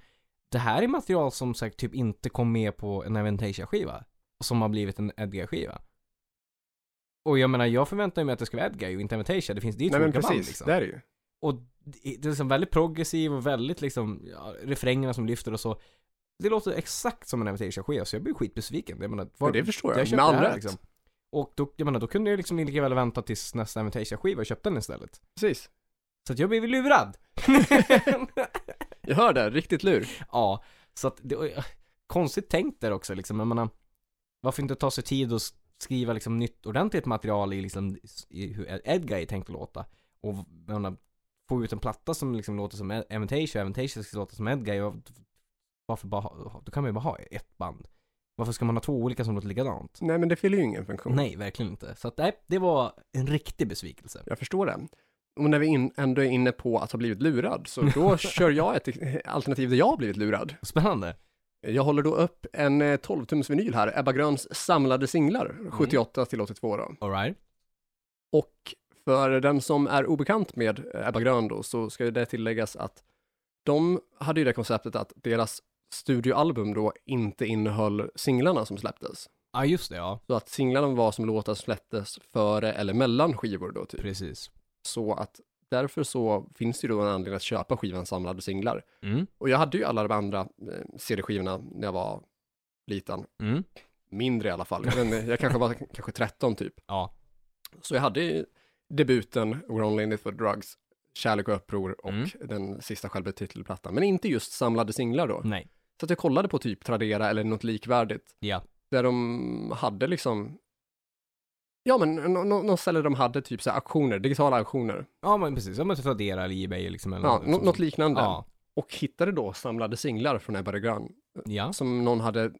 Det här är material som sagt typ inte kom med på en Aventasia-skiva, som har blivit en Edgar-skiva. Och jag menar, jag förväntar mig att det ska vara Edgar och inte Aventasia, det finns det är ju Nej, två men olika precis. band liksom. Det är det ju. Och det det är liksom väldigt progressiv och väldigt liksom, ja, refrängerna som lyfter och så. Det låter exakt som en Aventasia-skiva, så jag blir skitbesviken. Jag menar, Men var, det förstår jag. köpte Med all det här, rätt. liksom. Och då, jag menar, då kunde jag liksom lika väl vänta tills nästa Aventasia-skiva och köpte den istället. Precis. Så att jag blev *laughs* lurad. *laughs* Jag hör det. Riktigt lur. ja, så att det var konstigt tänkt där också liksom. Jag menar, varför inte ta sig tid och s- skriva liksom nytt ordentligt material i liksom i hur Ed- Edguy är tänkt att låta. Och jag menar, få ut en platta som liksom låter som Ed- Aventasia, Aventasia ska låta som Edguy. Och varför bara ha, då kan man ju bara ha ett band. Varför ska man ha två olika som låter likadant? Nej, men det fyller ju ingen funktion. Nej, verkligen inte. Så att, nej, det var en riktig besvikelse. Jag förstår det. Och när vi in, ändå är inne på att ha blivit lurad, så då kör jag ett eh, alternativ där jag har blivit lurad. Spännande. Jag håller då upp en eh, 12-tums vinyl här, Ebba Gröns samlade singlar, 78 till 82 då. Alright. Och för den som är obekant med eh, Ebba Grön då, så ska ju det tilläggas att de hade ju det konceptet att deras studioalbum då inte innehöll singlarna som släpptes. Ja, just det, ja. Så att singlarna var som låtar som släpptes före eller mellan skivor då typ. Precis. Så att därför så finns det ju då en anledning att köpa skivan samlade singlar. Mm. Och jag hade ju alla de andra eh, CD-skivorna när jag var liten. Mm. Mindre i alla fall. Jag, vet inte, jag kanske var kanske 13 typ. Ja. Så jag hade ju debuten We're Only In It For The Drugs, Kärlek och Uppror och Mm. den sista självbetitlade plattan. Men inte just samlade singlar då. Nej. Så att jag kollade på typ Tradera eller något likvärdigt. Ja. Där de hade liksom, ja men nå- nå- något ställe där de hade typ så här auktioner, digitala auktioner. Ja, men precis. Om man Tradera eller Ebay liksom. Eller Ja, nå- sånt. något liknande. Ja. Och hittade då samlade singlar från Ebba de Grön Ja. som någon hade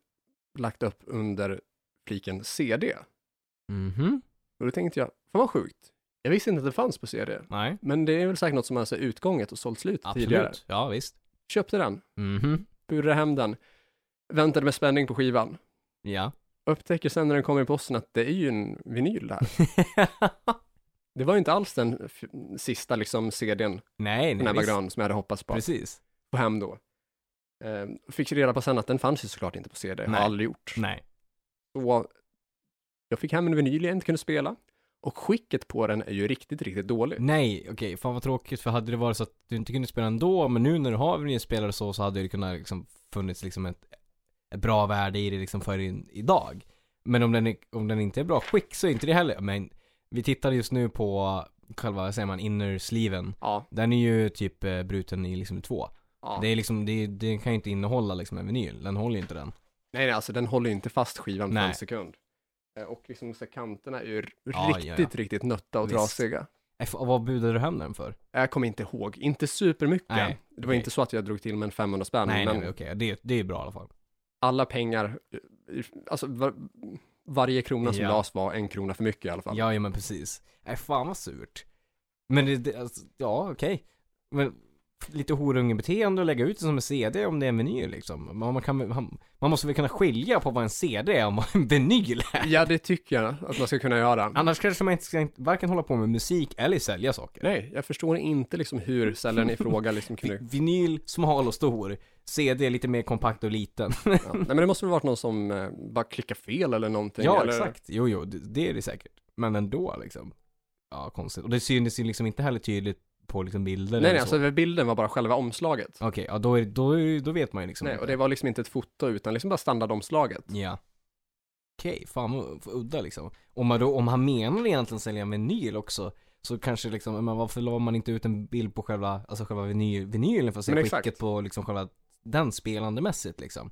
lagt upp under fliken CD. Mhm. Och då tänkte jag, fan vad sjukt. Jag visste inte att det fanns på CD. Nej. Men det är väl säkert något som har alltså utgånget och sålt slut Absolut. tidigare. Ja, visst. Köpte den, Mhm. burade hem den, väntade med spänning på skivan. Ja. Upptäcker sen när den kommer i posten att det är ju en vinyl det här. *laughs* Det var ju inte alls den f- sista liksom CDn nej, från nej. Ebba Visst. Grön som jag hade hoppats på Precis. på hem då. Ehm, fick reda på sen att den fanns ju såklart inte på CD, har Nej. aldrig gjort. Nej. Så jag fick hem en vinyl jag inte kunde spela Och skicket på den är ju riktigt, riktigt dåligt. Nej, okej, fan vad tråkigt för hade det varit så att du inte kunde spela ändå, men nu när du har en spelare så, så hade det kunnat liksom funnits liksom ett, ett bra värde i det liksom för in, idag. Men om den, är, om den inte är bra skick så är inte det heller, men vi tittar just nu på själva, vad säger man, innersleeven. Ja, Den är ju typ eh, bruten i liksom två. ja. Det är liksom, det, det kan ju inte innehålla liksom en vinyl, den håller ju inte den. Äh, Nej, nej, alltså den håller ju inte fast skivan för Nej. en sekund. Eh, Och liksom så här, kanterna är ju r- Ja, ja, riktigt, ja. riktigt nötta och Visst. trasiga. Äh, f- Vad budade du hem den för? Jag kommer inte ihåg, inte supermycket. Nej, det var okej. inte så att jag drog till med en 500 spänn, nej, men nej, men okej, det, det är bra i alla fall. alla pengar, eh, alltså var, varje krona som Ja. lades var en krona för mycket i alla fall. Ja, ja men precis. Nej, fan vad surt. Men det, det alltså, ja okej. Men lite horungebeteende att lägga ut det som en CD om det är en vinyl liksom. Man, man, kan, väl- man, man måste väl kunna skilja på vad en CD är och vad en vinyl är. Ja, det tycker jag att man ska kunna göra. Annars kanske man inte ska varken hålla på med musik eller sälja saker. Nej, jag förstår inte liksom *laughs* hur säljaren i fråga liksom kunde... Vi- Vinyl, smal och stor. CD är lite mer kompakt och liten. Ja. Nej, men det måste väl varit någon som eh, bara klickade fel eller någonting. ja, eller... exakt. Jo, jo, det, det är det säkert. Men ändå liksom. Ja, konstigt. Och det syns ju liksom inte heller tydligt på liksom bilder Nej, eller nej, så. alltså bilden var bara själva omslaget. Okej, ja då, är, då, är- då vet man ju liksom. Nej, inte. och det var liksom inte ett foto utan liksom bara standardomslaget. Ja. Okej, fan vad vad udda liksom. Om, man då, om han menar egentligen sälja en vinyl också, så kanske liksom, men varför la man inte ut en bild på själva, alltså själva vinyl, vinylen för att se Men skicket exakt. på liksom själva den spelandemässigt liksom.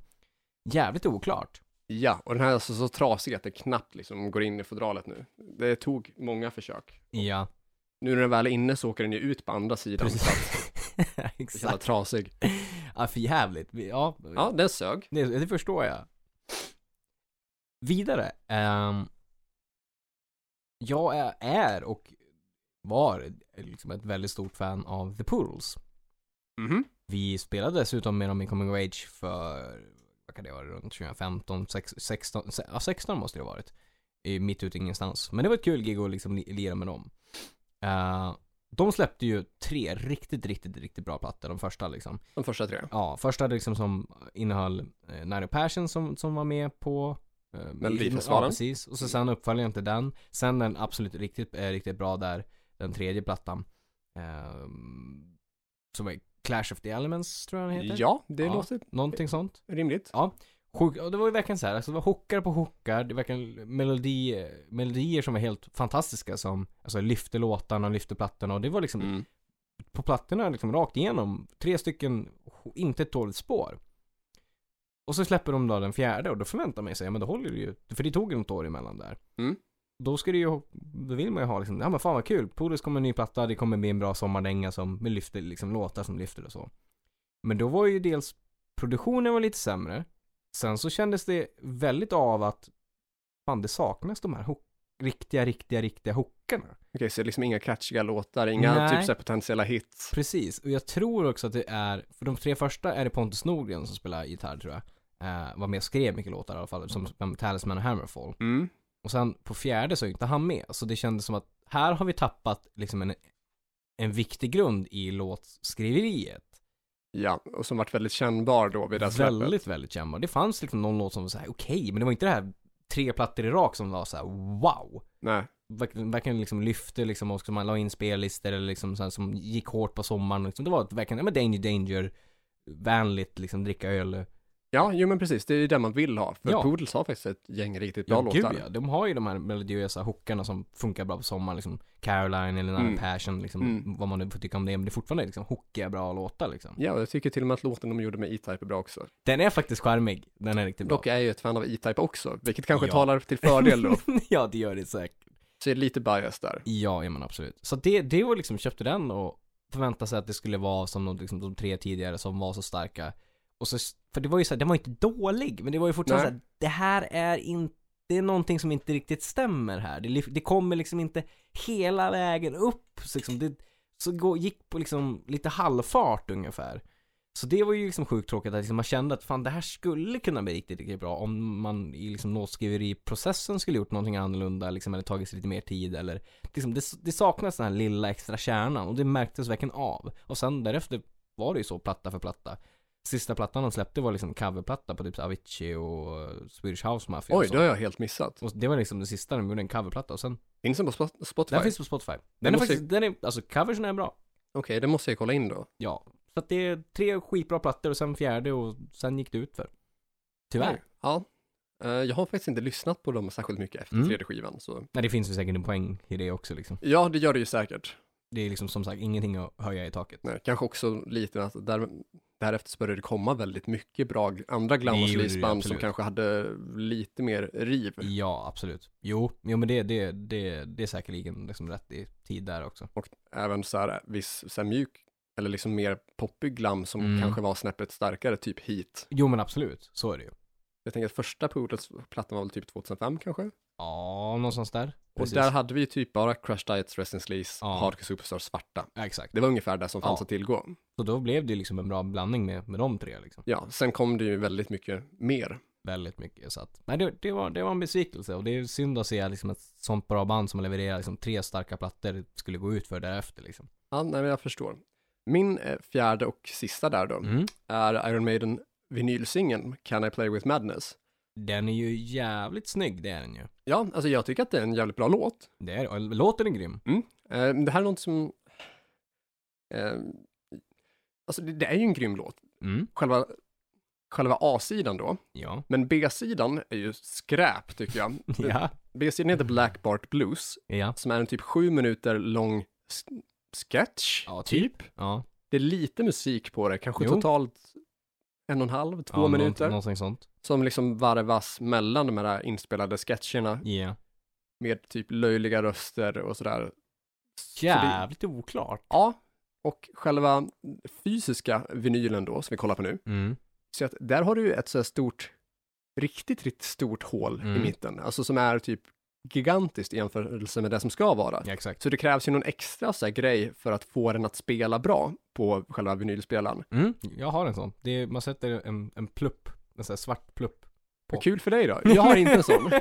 Jävligt oklart. Ja, och den här är alltså så trasig att det knappt liksom går in i fodralet nu. Det tog många försök. Ja, Nu när den väl är inne så åker den ju ut på andra sidan. Så att precis. *laughs* det är så jävla Exakt. trasig. Ja, för jävligt. Vi- Ja, Ja, den sög. Det, det förstår jag. Vidare. ehm, jag är- är och var liksom ett väldigt stort fan av The Poodles. Mhm. Vi spelade dessutom med dem i Coming of Age för, vad kan det vara, runt 2015, sex- 16, se- ja, 16 måste det ha varit. I- Mitt ute i ingenstans. Men det var ett kul gig att liksom li- lira med dem. Eh, de släppte ju tre riktigt, riktigt, riktigt bra plattor, de första liksom. De första tre. Ja, första liksom som innehöll eh, Nine Passion som, som var med på eh, Melodifestivalen. Ja, precis. Och så sen uppföljaren till den. Sen den absolut riktigt, eh, riktigt bra där, den tredje plattan. Eh, som är Clash of the Elements tror jag den heter. Ja, det Ja. låter Någonting sånt. rimligt. Sjuk, och det var ju verkligen så här, alltså det var hockar på hockar, det var verkligen melodi, eh, melodier som var helt fantastiska som, alltså lyfte låtarna, lyfte plattorna och det var liksom Mm. på plattorna liksom rakt igenom. Tre stycken, inte ett dåligt spår. Och så släpper de då den fjärde och då förväntar man sig, ja men då håller det ju, för det tog något år emellan där. Mm. Då ska det ju, då vill man ju ha liksom, ja men fan vad kul, Polus kommer en ny platta, det kommer bli en bra sommardänga som med lyfter, liksom låtar som lyfter och så. Men då var ju dels produktionen var lite sämre, sen så kändes det väldigt av att fan det saknas de här hook, riktiga, riktiga, riktiga hookarna. Okej, så det är liksom inga catchiga låtar, inga Nej. typ så här potentiella hits. Precis, och jag tror också att det är, för de tre första är det Pontus Norgren som spelar gitarr tror jag. Eh, var med och skrev mycket låtar i alla fall, som som Talisman och Hammerfall. Mm. Och sen på fjärde så är inte han med, så det kändes som att här har vi tappat liksom en, en viktig grund i låtskriveriet. Ja, och som varit väldigt kännbar då vid det här släppet. Väldigt, väldigt kännbar. Det fanns liksom någon låt som var så här okej, men det var inte det här tre plattor i rak som var så här wow. Nej, verkligen verkligen liksom lyfte liksom och man la in spellistor eller liksom så här, som gick hårt på sommaren liksom. Det var ett verkligen, ja men danger danger, vänligt liksom dricka öl. ja, jo men precis, det är ju det man vill ha. För Ja. Poodles har faktiskt ett gäng riktigt bra Ja låtar. gud ja, de har ju de här melodiösa hookarna som funkar bra på sommaren liksom. Caroline eller Nanny Mm. Passion liksom, Mm. vad man nu får tycka om det. Men det är fortfarande liksom hookiga bra låtar liksom. Ja, och jag tycker till och med att låten de gjorde med E-Type är bra också. Den är faktiskt charmig, den är riktigt bra. Dock är jag ju ett fan av E-Type också, vilket kanske Ja. talar till fördel *laughs* då. ja det gör det säkert. Så är det lite bias där. Ja, ja men absolut. Så det, det var liksom, köpte den och förväntade sig att det skulle vara som de, liksom, de tre tidigare som var så starka. Och så, för det var ju så här, den var ju inte dålig, men det var ju fortfarande Nej. så här, det här är inte, det är någonting som inte riktigt stämmer här. Det, lyf- det kommer liksom inte hela vägen upp, så liksom det, så gå, gick på liksom lite halvfart ungefär. Så det var ju liksom sjukt tråkigt att liksom man kände att fan det här skulle kunna bli riktigt, riktigt bra om man i liksom låtskriveriprocessen skulle gjort någonting annorlunda liksom eller tagit sig lite mer tid eller liksom det, det saknas den här lilla extra kärnan och det märktes verkligen av. Och sen därefter var det ju så platta för platta. sista plattan de släppte var liksom coverplatta på typ så Avicii och eh, Swedish House Mafia Oj, och, så. det har jag helt missat. och det var liksom det sista de gjorde, en coverplatta och sen, Finns den på Spot- Spotify? den finns på Spotify. Den är måste- faktiskt, den är, alltså coversen är bra. Okej, det måste jag kolla in då. Ja. Så att det är tre skitbra plattor och sen fjärde och sen gick det ut för Tyvärr. Nej, Ja. Eh, Jag har faktiskt inte lyssnat på dem särskilt mycket efter Mm. tredje skivan. Så. det finns ju säkert en poäng i det också liksom. Ja, det gör det ju säkert. Det är liksom som sagt ingenting att höja i taket. Nej, kanske också lite att där, därefter så började det komma väldigt mycket bra gl- andra Det gjorde det ju, glamour-releaseband som absolut. kanske hade lite mer riv. Ja, absolut. Jo, jo men det, det, det, det är säkerligen liksom rätt i tid där också. Och även så här viss så här mjuk, eller liksom mer poppig glam som Mm. kanske var snäppet starkare, typ hit. Jo men absolut, så är det ju. Jag tänker att första Poodles plattan var väl typ 2005 kanske? Ja, någonstans där. Precis. Och där hade vi ju typ bara Crash Diets, Rest in Sleaze, Ja. Hardcore Superstar, Svarta. Ja, exakt. Det var ungefär det som fanns Ja. att tillgå. Så då blev det ju liksom en bra blandning med, med de tre liksom. Ja, sen kom det ju väldigt mycket mer. Väldigt mycket. Så att, nej det, det, var, det var en besvikelse och det är synd att se liksom ett sånt bra band som levererar liksom tre starka plattor skulle gå ut för därefter liksom. Ja, nej, men jag förstår. Min eh, fjärde och sista där då Mm. är Iron Maiden vinylsingen Can I Play With Madness. Den är ju jävligt snygg, det är den ju. Ja, alltså jag tycker att det är en jävligt bra låt. Det är, och låten är grym. Eh, men det här är något som... Eh, alltså det, det är ju en grym låt. Mm. Själva, själva A-sidan då, Ja. men B-sidan är ju skräp tycker jag. *laughs* Ja. B-sidan heter Black Bart Blues, Ja. som är en typ sju minuter lång s- sketch. Ja, typ. Ja. Det är lite musik på det, kanske Jo. totalt en och en halv, två ja, minuter. nånt- Någonting sånt. Som liksom varvas mellan de här inspelade sketcherna Ja. med typ löjliga röster och sådär. Så det- Jävligt oklart. Ja, och själva fysiska vinylen då, som vi kollar på nu, Mm. så att där har du ju ett så här stort, riktigt, riktigt stort hål Mm. i mitten, alltså som är typ gigantiskt i jämförelse med det som ska vara. Ja, exakt. Så det krävs ju någon extra så här grej för att få den att spela bra på själva vinylspelaren. Mm. Jag har en sån. Det är, man sätter en, en plupp, en sån här svart plupp. på. Vad kul för dig då. Jag har inte en *laughs* sån.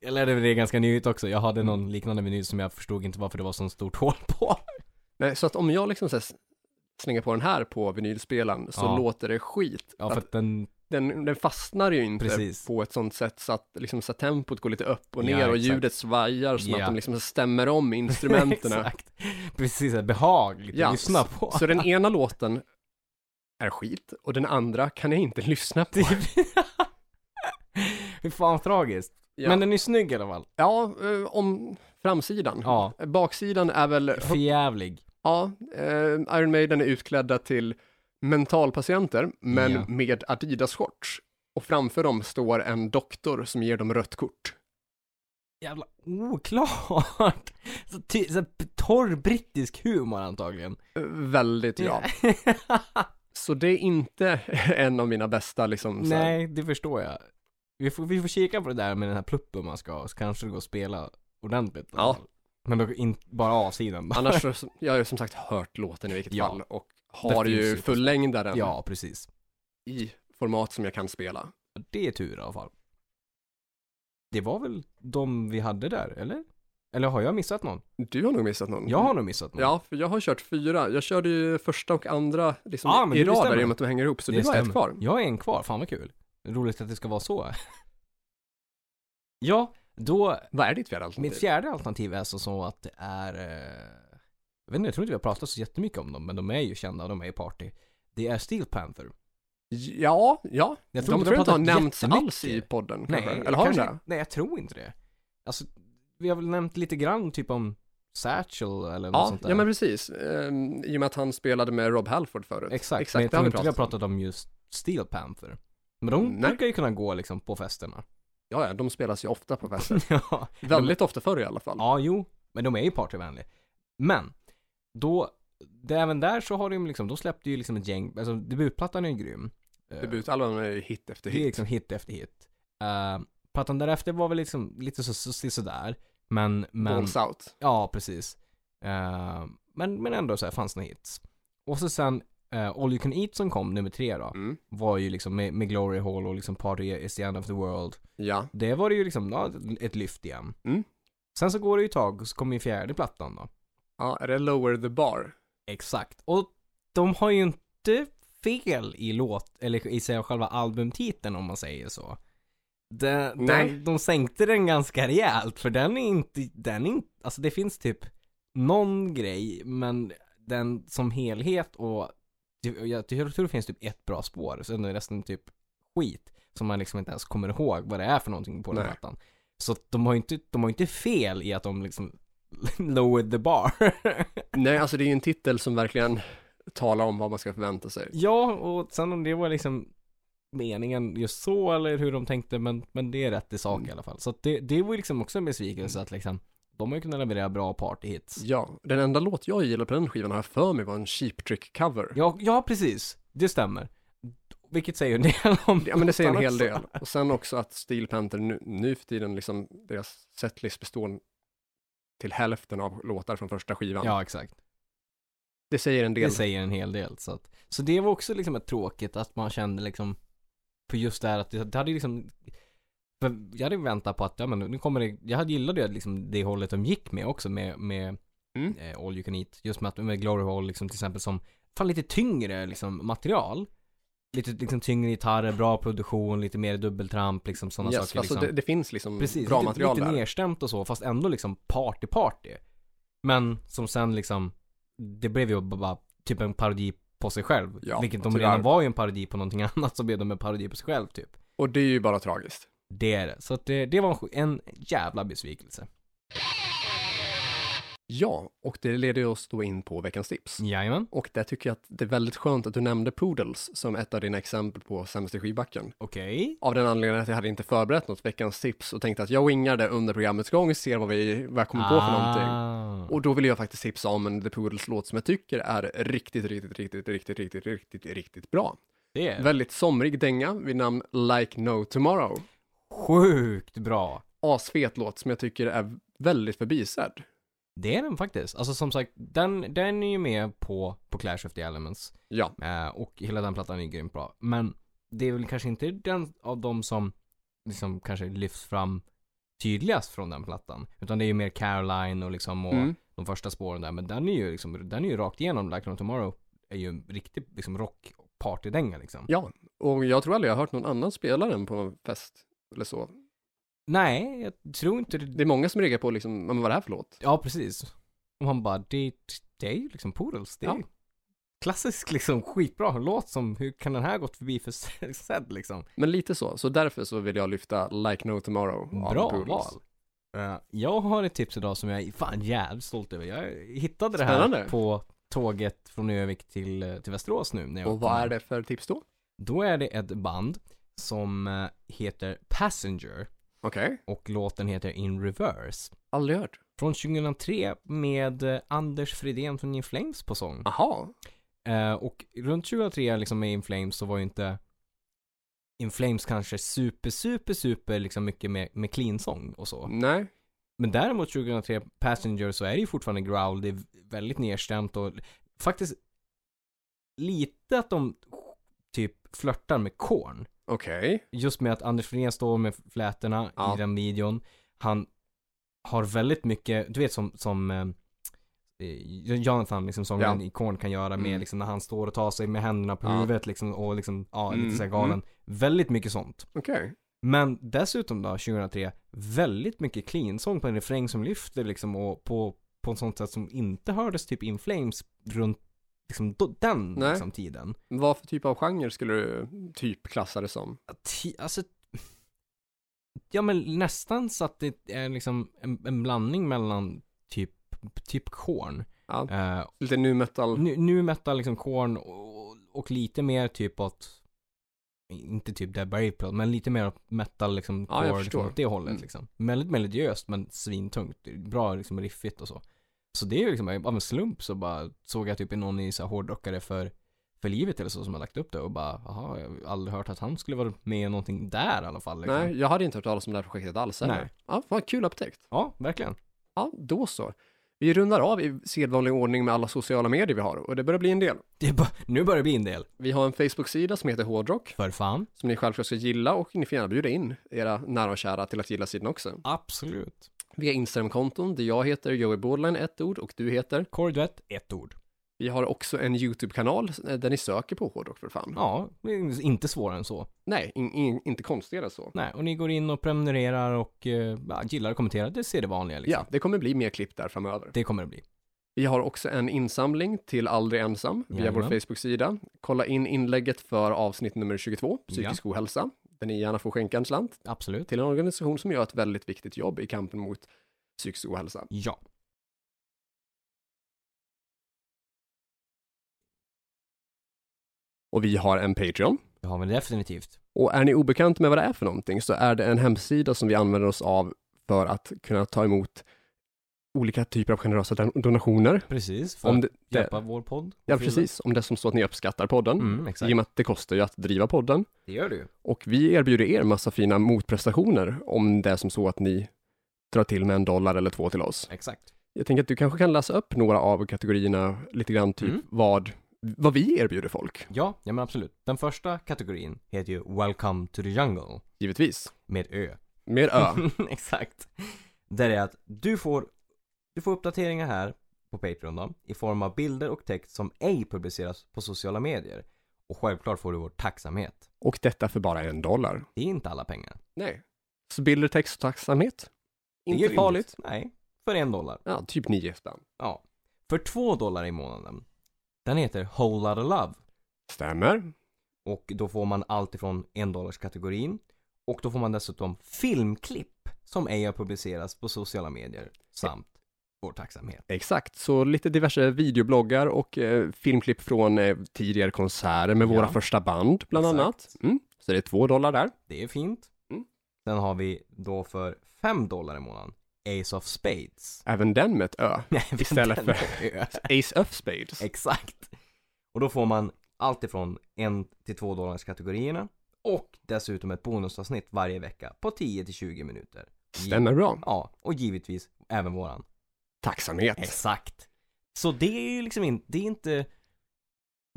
Jag lärde mig det ganska nyligt också. Jag Mm. hade någon liknande meny som jag förstod inte varför det var så stort hål på. Nej, så att om jag liksom så här s- slänger på den här på vinylspelaren så Ja. låter det skit. Ja, för att att den, den, den fastnar ju inte Precis. på ett sånt sätt så att, liksom, så att tempot går lite upp och Ja, ner och exakt. ljudet svajar så Ja. att de liksom stämmer om *laughs* instrumenten. Exakt. Precis, så här behagligt Ja, att lyssna på. *laughs* så den ena låten är skit och den andra kan jag inte *laughs* lyssna på. Typ. Hur fan tragiskt. Ja, Men den är snygg i alla fall. ja eh, om framsidan. Ja. Baksidan är väl, Förjävlig. ja, eh, Iron Maiden är utklädda till mentalpatienter, men Ja. med Adidas-shorts. Och framför dem står en doktor som ger dem rött kort. Jävla oklart. *laughs* Så, ty, så här torr brittisk humor antagligen. Eh, Väldigt *laughs* ja. Så det är inte *laughs* en av mina bästa liksom. så här- Nej, det förstår jag. Vi får, vi får kika på det där med den här pluppen man ska ha, så kanske det går att spela ordentligt. Ja. Men då in, bara avsidan. bara. Annars, *laughs* så- jag har ju som sagt hört låten i vilket Ja. fall och har Det finns ju ju på- fullängdaren Ja, precis. i format som jag kan spela. Det är tur i alla fall. Det var väl de vi hade där, eller? Eller har jag missat någon? Du har nog missat någon. Jag har nog missat någon. Ja, för jag har kört fyra. Jag körde ju första och andra liksom, Ja, Ah, men i det rad där stämmer. i och med att de hänger ihop, så Det du har ett stämmer. kvar. Jag är en kvar, fan vad kul. Roligt att det ska vara så. *laughs* ja, då Vad är ditt fjärde alternativ? Mitt fjärde alternativ är alltså så att det är eh, Jag vet inte, jag tror inte vi har pratat så jättemycket om dem men de är ju kända, de är ju party Det är Steel Panther Ja, ja. Jag de tror inte jag inte har pratat nämnts jättemycket. alls i podden. Nej, kanske. Eller har de kanske- det? Nej, jag tror inte det Alltså, vi har väl nämnt lite grann typ om Satchel eller något Ja, sånt där ja, men precis. Ehm, I och med att han spelade med Rob Halford förut. Exakt, exakt men jag det har tror vi inte vi har pratat pratat om just Steel Panther Men de Nej. brukar ju kunna gå liksom på festerna *laughs* Ja, ja, de spelas ju ofta på fester. Ja, Väldigt ofta förr i alla fall. Ja, jo, men de är ju partyvänliga. Men, då, det, även där så har de liksom, då släppte ju liksom ett gäng, alltså debutplattan är ju grym. Eh, Debutalbumen är ju hit efter Det är hit. liksom hit efter hit. Eh, plattan därefter var väl liksom lite så, så, så, sådär, men, men, Balls out. ja precis. Eh, men, men ändå så här, fanns några hits. Och så sen eh, All You Can Eat som kom, nummer tre då, Mm. var ju liksom med, med Glory Hall och liksom Party is the end of the world. Ja, Det var det ju liksom, ja, ett lyft igen. Mm. Sen så går det ju ett tag och så kommer ju fjärde plattan då. ja, är det lower the bar? Exakt. Och de har ju inte fel i låt, eller i sig själva albumtiteln om man säger så. De, Nej. de, de sänkte den ganska rejält för den är inte, den är inte, alltså det finns typ någon grej men den som helhet och jag, jag tror det finns typ ett bra spår, sen är resten typ skit som man liksom inte ens kommer ihåg vad det är för någonting på den Nej. plattan. Så att de har ju inte, de har ju inte fel i att de liksom *laughs* lowered the bar. Nej, alltså det är ju en titel som verkligen talar om vad man ska förvänta sig. ja, och sen om det var liksom meningen just så eller hur de tänkte, men, men det är rätt i Mm. sak i alla fall. Så att det, det var ju liksom också en besvikelse att liksom, de har ju kunnat leverera bra partyhits. Ja, den enda låt jag gillar på den skivan har jag för mig var en Cheap Trick-cover. Ja, ja precis. Det stämmer. Vilket säger en del om Ja, men det säger en hel låtarna del. Och sen också att Steel Panther nu, nu för tiden, liksom, deras setlist består till hälften av låtar från första skivan. också. Ja, exakt. Det säger en del. Det säger en hel del. Så, att, så det var också liksom ett tråkigt att man kände liksom på just det här att det, det hade ju liksom för jag hade väntat på att, ja men nu kommer det, jag hade gillat det liksom det hållet de gick med också med, med Mm. eh, All You Can Eat. Just med att, med Glory Hall liksom till exempel som, fan lite tyngre liksom material. Lite liksom tyngre gitarrer, bra produktion, lite mer dubbeltramp liksom sådana yes, saker. alltså, liksom. det, det finns liksom Precis, bra lite, material lite där. nerstämt och så, fast ändå liksom party party. Men som sen liksom, det blev ju bara bara typ en parodi på sig själv. Ja, vilket de tyvärr. redan var ju en parodi på någonting *laughs* annat, så blev de en parodi på sig själv typ. Och det är ju bara tragiskt. Det är det. Så att det, det var en, sj- en jävla besvikelse. Ja, och det leder oss då in på veckans tips. Jajamän. Och där tycker jag att det är väldigt skönt att du nämnde Poodles som ett av dina exempel på sämst i skivbacken. Okej. Av den anledningen att jag hade inte förberett något veckans tips och tänkte att jag wingar det under programmets gång, ser vad, vi, vad jag kommer på för Ah. någonting. någonting. Och då vill jag faktiskt tipsa om en The Poodles låt som jag tycker är riktigt, riktigt, riktigt, riktigt, riktigt, riktigt, riktigt bra. Det är Väldigt somrig dänga vid namn Like No Tomorrow. sjukt bra. Asfet låt som jag tycker är väldigt förbisedd. Det är den faktiskt. Alltså som sagt, den, den är ju med på, på Clash of the Elements. Ja, Eh, och hela den plattan är grymt bra. Men det är väl kanske inte den av dem som liksom kanske lyfts fram tydligast från den plattan. Utan det är ju mer Caroline och liksom och mm. de första spåren där. Men den är ju liksom, den är ju rakt igenom. Like No Tomorrow är ju en riktig liksom rock och partydänga liksom. ja. Och jag tror aldrig jag har hört någon annan spela den på en fest eller så. Nej, jag tror inte det. Det är många som reagerar på liksom, men vad är det här för låt? Ja, precis. Och han bara, det, det är ju liksom Poodles. Det är Ja. ju klassisk liksom skitbra låt som, hur kan den här gått förbi för *laughs* sedd liksom? Men lite så, så därför så vill jag lyfta Like No Tomorrow av Bra The Poodles. val. Eh, jag har ett tips idag som jag är fan jävligt stolt över. Jag hittade det här Spännande. på tåget från Ö-vik till, eh, till Västerås nu. När jag Och kom vad här. är det för tips då? Då är det ett band som eh, heter Passenger Okej, och låten heter In Reverse. aldrig hört. Från 2003 med eh, Anders Fridén från In Flames på sång. Aha, Eh, och runt 2003 liksom med In Flames så var ju inte In Flames kanske super, super, super liksom mycket med, med clean-sång och så. nej. Men däremot 2003 Passenger så är det ju fortfarande growl, det är väldigt nedstämt och faktiskt lite att de typ flörtar med korn. Okej, Just med att Anders Fredén står med flätorna Ja. i den videon. Han har väldigt mycket, du vet som, som eh, eh, Jonathan, liksom sångaren i Korn kan göra med Mm. liksom när han står och tar sig med händerna på Ja. huvudet liksom och liksom, ja, Mm, lite såhär galen. Väldigt mycket sånt. okej. Men dessutom då, 2003, väldigt mycket clean-sång på en refräng som lyfter liksom och på, på ett sånt sätt som inte hördes typ In Flames runt liksom, då, den Nej. liksom, tiden. Vad för typ av genre skulle du typ klassa det som? Ja, ti- Alltså, ja men nästan så att det är liksom en, en blandning mellan typ, typ Korn. Ja. Eh, Lite nu metal? nu, nu metal liksom Korn och, och lite mer typ åt inte typ Dead by April, men lite mer åt metal liksom, Ja, jag core, förstår. liksom åt det hållet Mm. liksom. Väldigt melodiöst men svintungt, bra liksom riffigt och så. Så det är ju liksom av en slump så bara såg jag typ någon i så här hårdrockare för, för livet eller så som har lagt upp det och bara, jaha, jag har aldrig hört att han skulle vara med i någonting där i alla fall. Liksom. Nej, jag hade inte hört talas om det här projektet alls heller. Nej. Ja, fan kul upptäckt. Ja, verkligen. Ja, då så. Vi rundar av i sedvanlig ordning med alla sociala medier vi har och det börjar bli en del. Det är bara, nu börjar det bli en del. Vi har en Facebook-sida som heter Hårdrock För fan. som ni självklart ska gilla och ni får gärna bjuda in era nära och kära till att gilla sidan också. Absolut. Vi har Instagram-konton där jag heter Joey Bordline, ett ord, och du heter. Korduett, ett ord. Vi Vi har också en YouTube-kanal eh, där ni söker på hårdrock för fan. Ja, det är inte svårare än så. Nej, in, in, inte konstigare än så. Liksom. Nej, och ni går in och prenumererar och eh, ja, gillar och kommenterar. Det ser det vanliga liksom. Ja, det kommer bli mer klipp där framöver. Det kommer det bli. Vi har också en insamling till Aldrig Ensam via vår Jajamän. Facebook-sida. Kolla in inlägget för avsnitt nummer 22, Psykisk ohälsa, där ni gärna får skänka en slant Absolut. till en organisation som gör ett väldigt viktigt jobb i kampen mot psykisk ohälsa. Ja. Och vi har en Patreon. Det har vi definitivt. Och är ni obekant med vad det är för någonting så är det en hemsida som vi använder oss av för att kunna ta emot olika typer av generösa don- donationer. Precis. För Om att det, det, hjälpa vår podd. ja, precis. Om det är som så att ni uppskattar podden. Mm, I exakt. och med att det kostar ju att driva podden. Det gör du ju. Och vi erbjuder er massa fina motprestationer om det är som så att ni drar till med en dollar eller två till oss. Exakt. Jag tänker att du kanske kan läsa upp några av kategorierna lite grann, typ Mm. vad, vad vi erbjuder folk, Ja, ja men absolut. Den första kategorin heter ju Welcome to the Jungle. givetvis. Med Ö. Med *laughs* Ö. Exakt. Där är att du får, du får uppdateringar här på Patreon då, i form av bilder och text som ej publiceras på sociala medier. Och självklart får du vår tacksamhet. och detta för bara en dollar. Det är inte alla pengar. Nej. Så bilder, text och tacksamhet. Det är Inte rimligt. farligt. Nej, för en dollar. Ja, typ nio spänn. Ja. För två dollar i månaden. Den heter Whole Lotta Love. Stämmer. Och då får man allt ifrån en dollars kategorin. Och då får man dessutom filmklipp som ej har publicerats på sociala medier. Samt vår tacksamhet. Exakt, så lite diverse videobloggar och eh, filmklipp från eh, tidigare konserter med våra Ja. första band, bland Exakt. annat. Mm. Så det är två dollar där. Det är fint. Mm. Sen har vi då för 5 dollar i månaden Ace of Spades. *laughs* Även den med ett Ö. Nej, men Istället den för- är *laughs* ö. Ace of Spades. *laughs* Exakt. Och då får man allt ifrån 1 till 2 dollars kategorierna och dessutom ett bonusavsnitt varje vecka på 10 till 20 minuter. Gi- Stämmer bra. Ja, och givetvis även våran. Tacksamhet. Exakt. Så det är ju liksom inte, det är inte,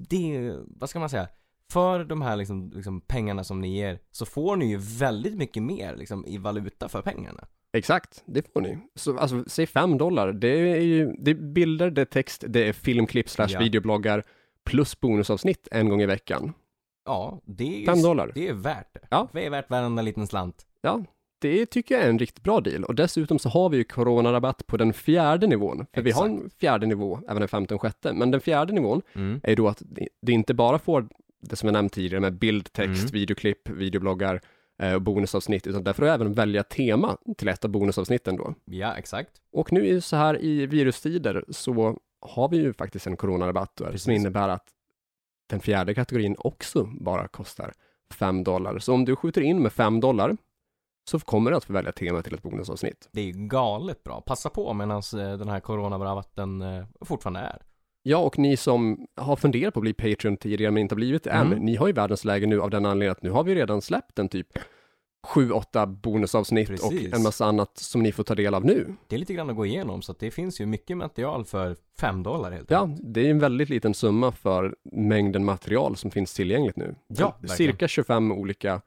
det är, vad ska man säga? För de här liksom, liksom pengarna som ni ger så får ni ju väldigt mycket mer liksom i valuta för pengarna. Exakt, det får ni. Så alltså, säg 5 dollar. Det är ju det är bilder, det är text, det är filmklipp slash Ja. videobloggar plus bonusavsnitt en gång i veckan. Ja, det är ju, 5 dollar. det är värt det. Ja. Det är värt varenda liten slant. Ja, det tycker jag är en riktigt bra deal. Och dessutom så har vi ju coronarabatt på den fjärde nivån. För vi har en fjärde nivå, även en femte och en sjätte. Men den fjärde nivån Mm. är ju då att du inte bara får det som jag nämnt tidigare med bild, text, Mm. videoklipp, videobloggar eh, och bonusavsnitt, utan där får du även välja tema till ett av bonusavsnitten då. Ja, exakt. Och nu är det så här i virustider så har vi ju faktiskt en coronarabatt då, Precis. som innebär att den fjärde kategorin också bara kostar 5 dollar. Så om du skjuter in med 5 dollar så kommer du att få välja tema till ett bonusavsnitt. Det är ju galet bra. Passa på medan den här coronarabatten eh, fortfarande är. Ja, och ni som har funderat på att bli Patreon tidigare men inte har blivit det än, Mm. ni har ju världens läge nu av den anledningen att nu har vi redan släppt en typ 7-8 bonusavsnitt Precis. och en massa annat som ni får ta del av nu. Det är lite grann att gå igenom så att det finns ju mycket material för 5 dollar helt Ja, enkelt. det är en väldigt liten summa för mängden material som finns tillgängligt nu. Ja, Cirka 25 olika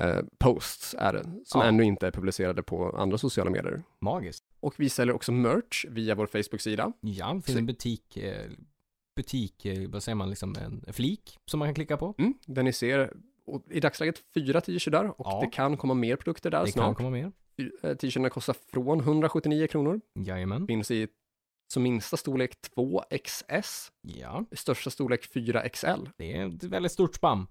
eh, posts är det, som Ja. ännu inte är publicerade på andra sociala medier. Magiskt. Och vi säljer också merch via vår Facebook-sida. Ja, det finns Så- en butik, eh, butik, eh, vad säger man, liksom en flik som man kan klicka på. Mm, där ni ser och i dagsläget fyra t-shirtar och Ja. det kan komma mer produkter där det kan snart. komma mer. Eh, T-shirtarna kostar från 179 kronor. Jajamän. Finns i som minsta storlek 2XS, Ja, i största storlek 4XL. det är ett väldigt stort spann.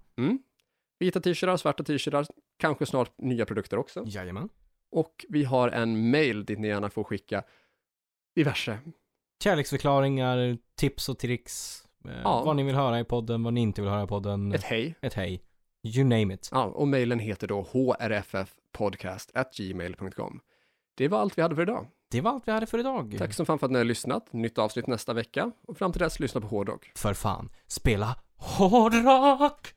Vita Mm. t-shirtar, svarta t-shirtar, kanske snart nya produkter också. Jajamän. Och vi har en mail dit ni gärna får skicka diverse. Kärleksförklaringar, tips och tricks. Eh, Ja. Vad ni vill höra i podden, vad ni inte vill höra i podden. Ett Ett, hej. hej. You name it. Ja, och mailen heter då hrffpodcast.gmail.com. Det var allt vi hade för idag. Det var allt vi hade för idag. Tack som fan för att ni har lyssnat. Nytt avsnitt nästa vecka och fram till dess lyssna på hårdrock. För fan, spela hårdrock!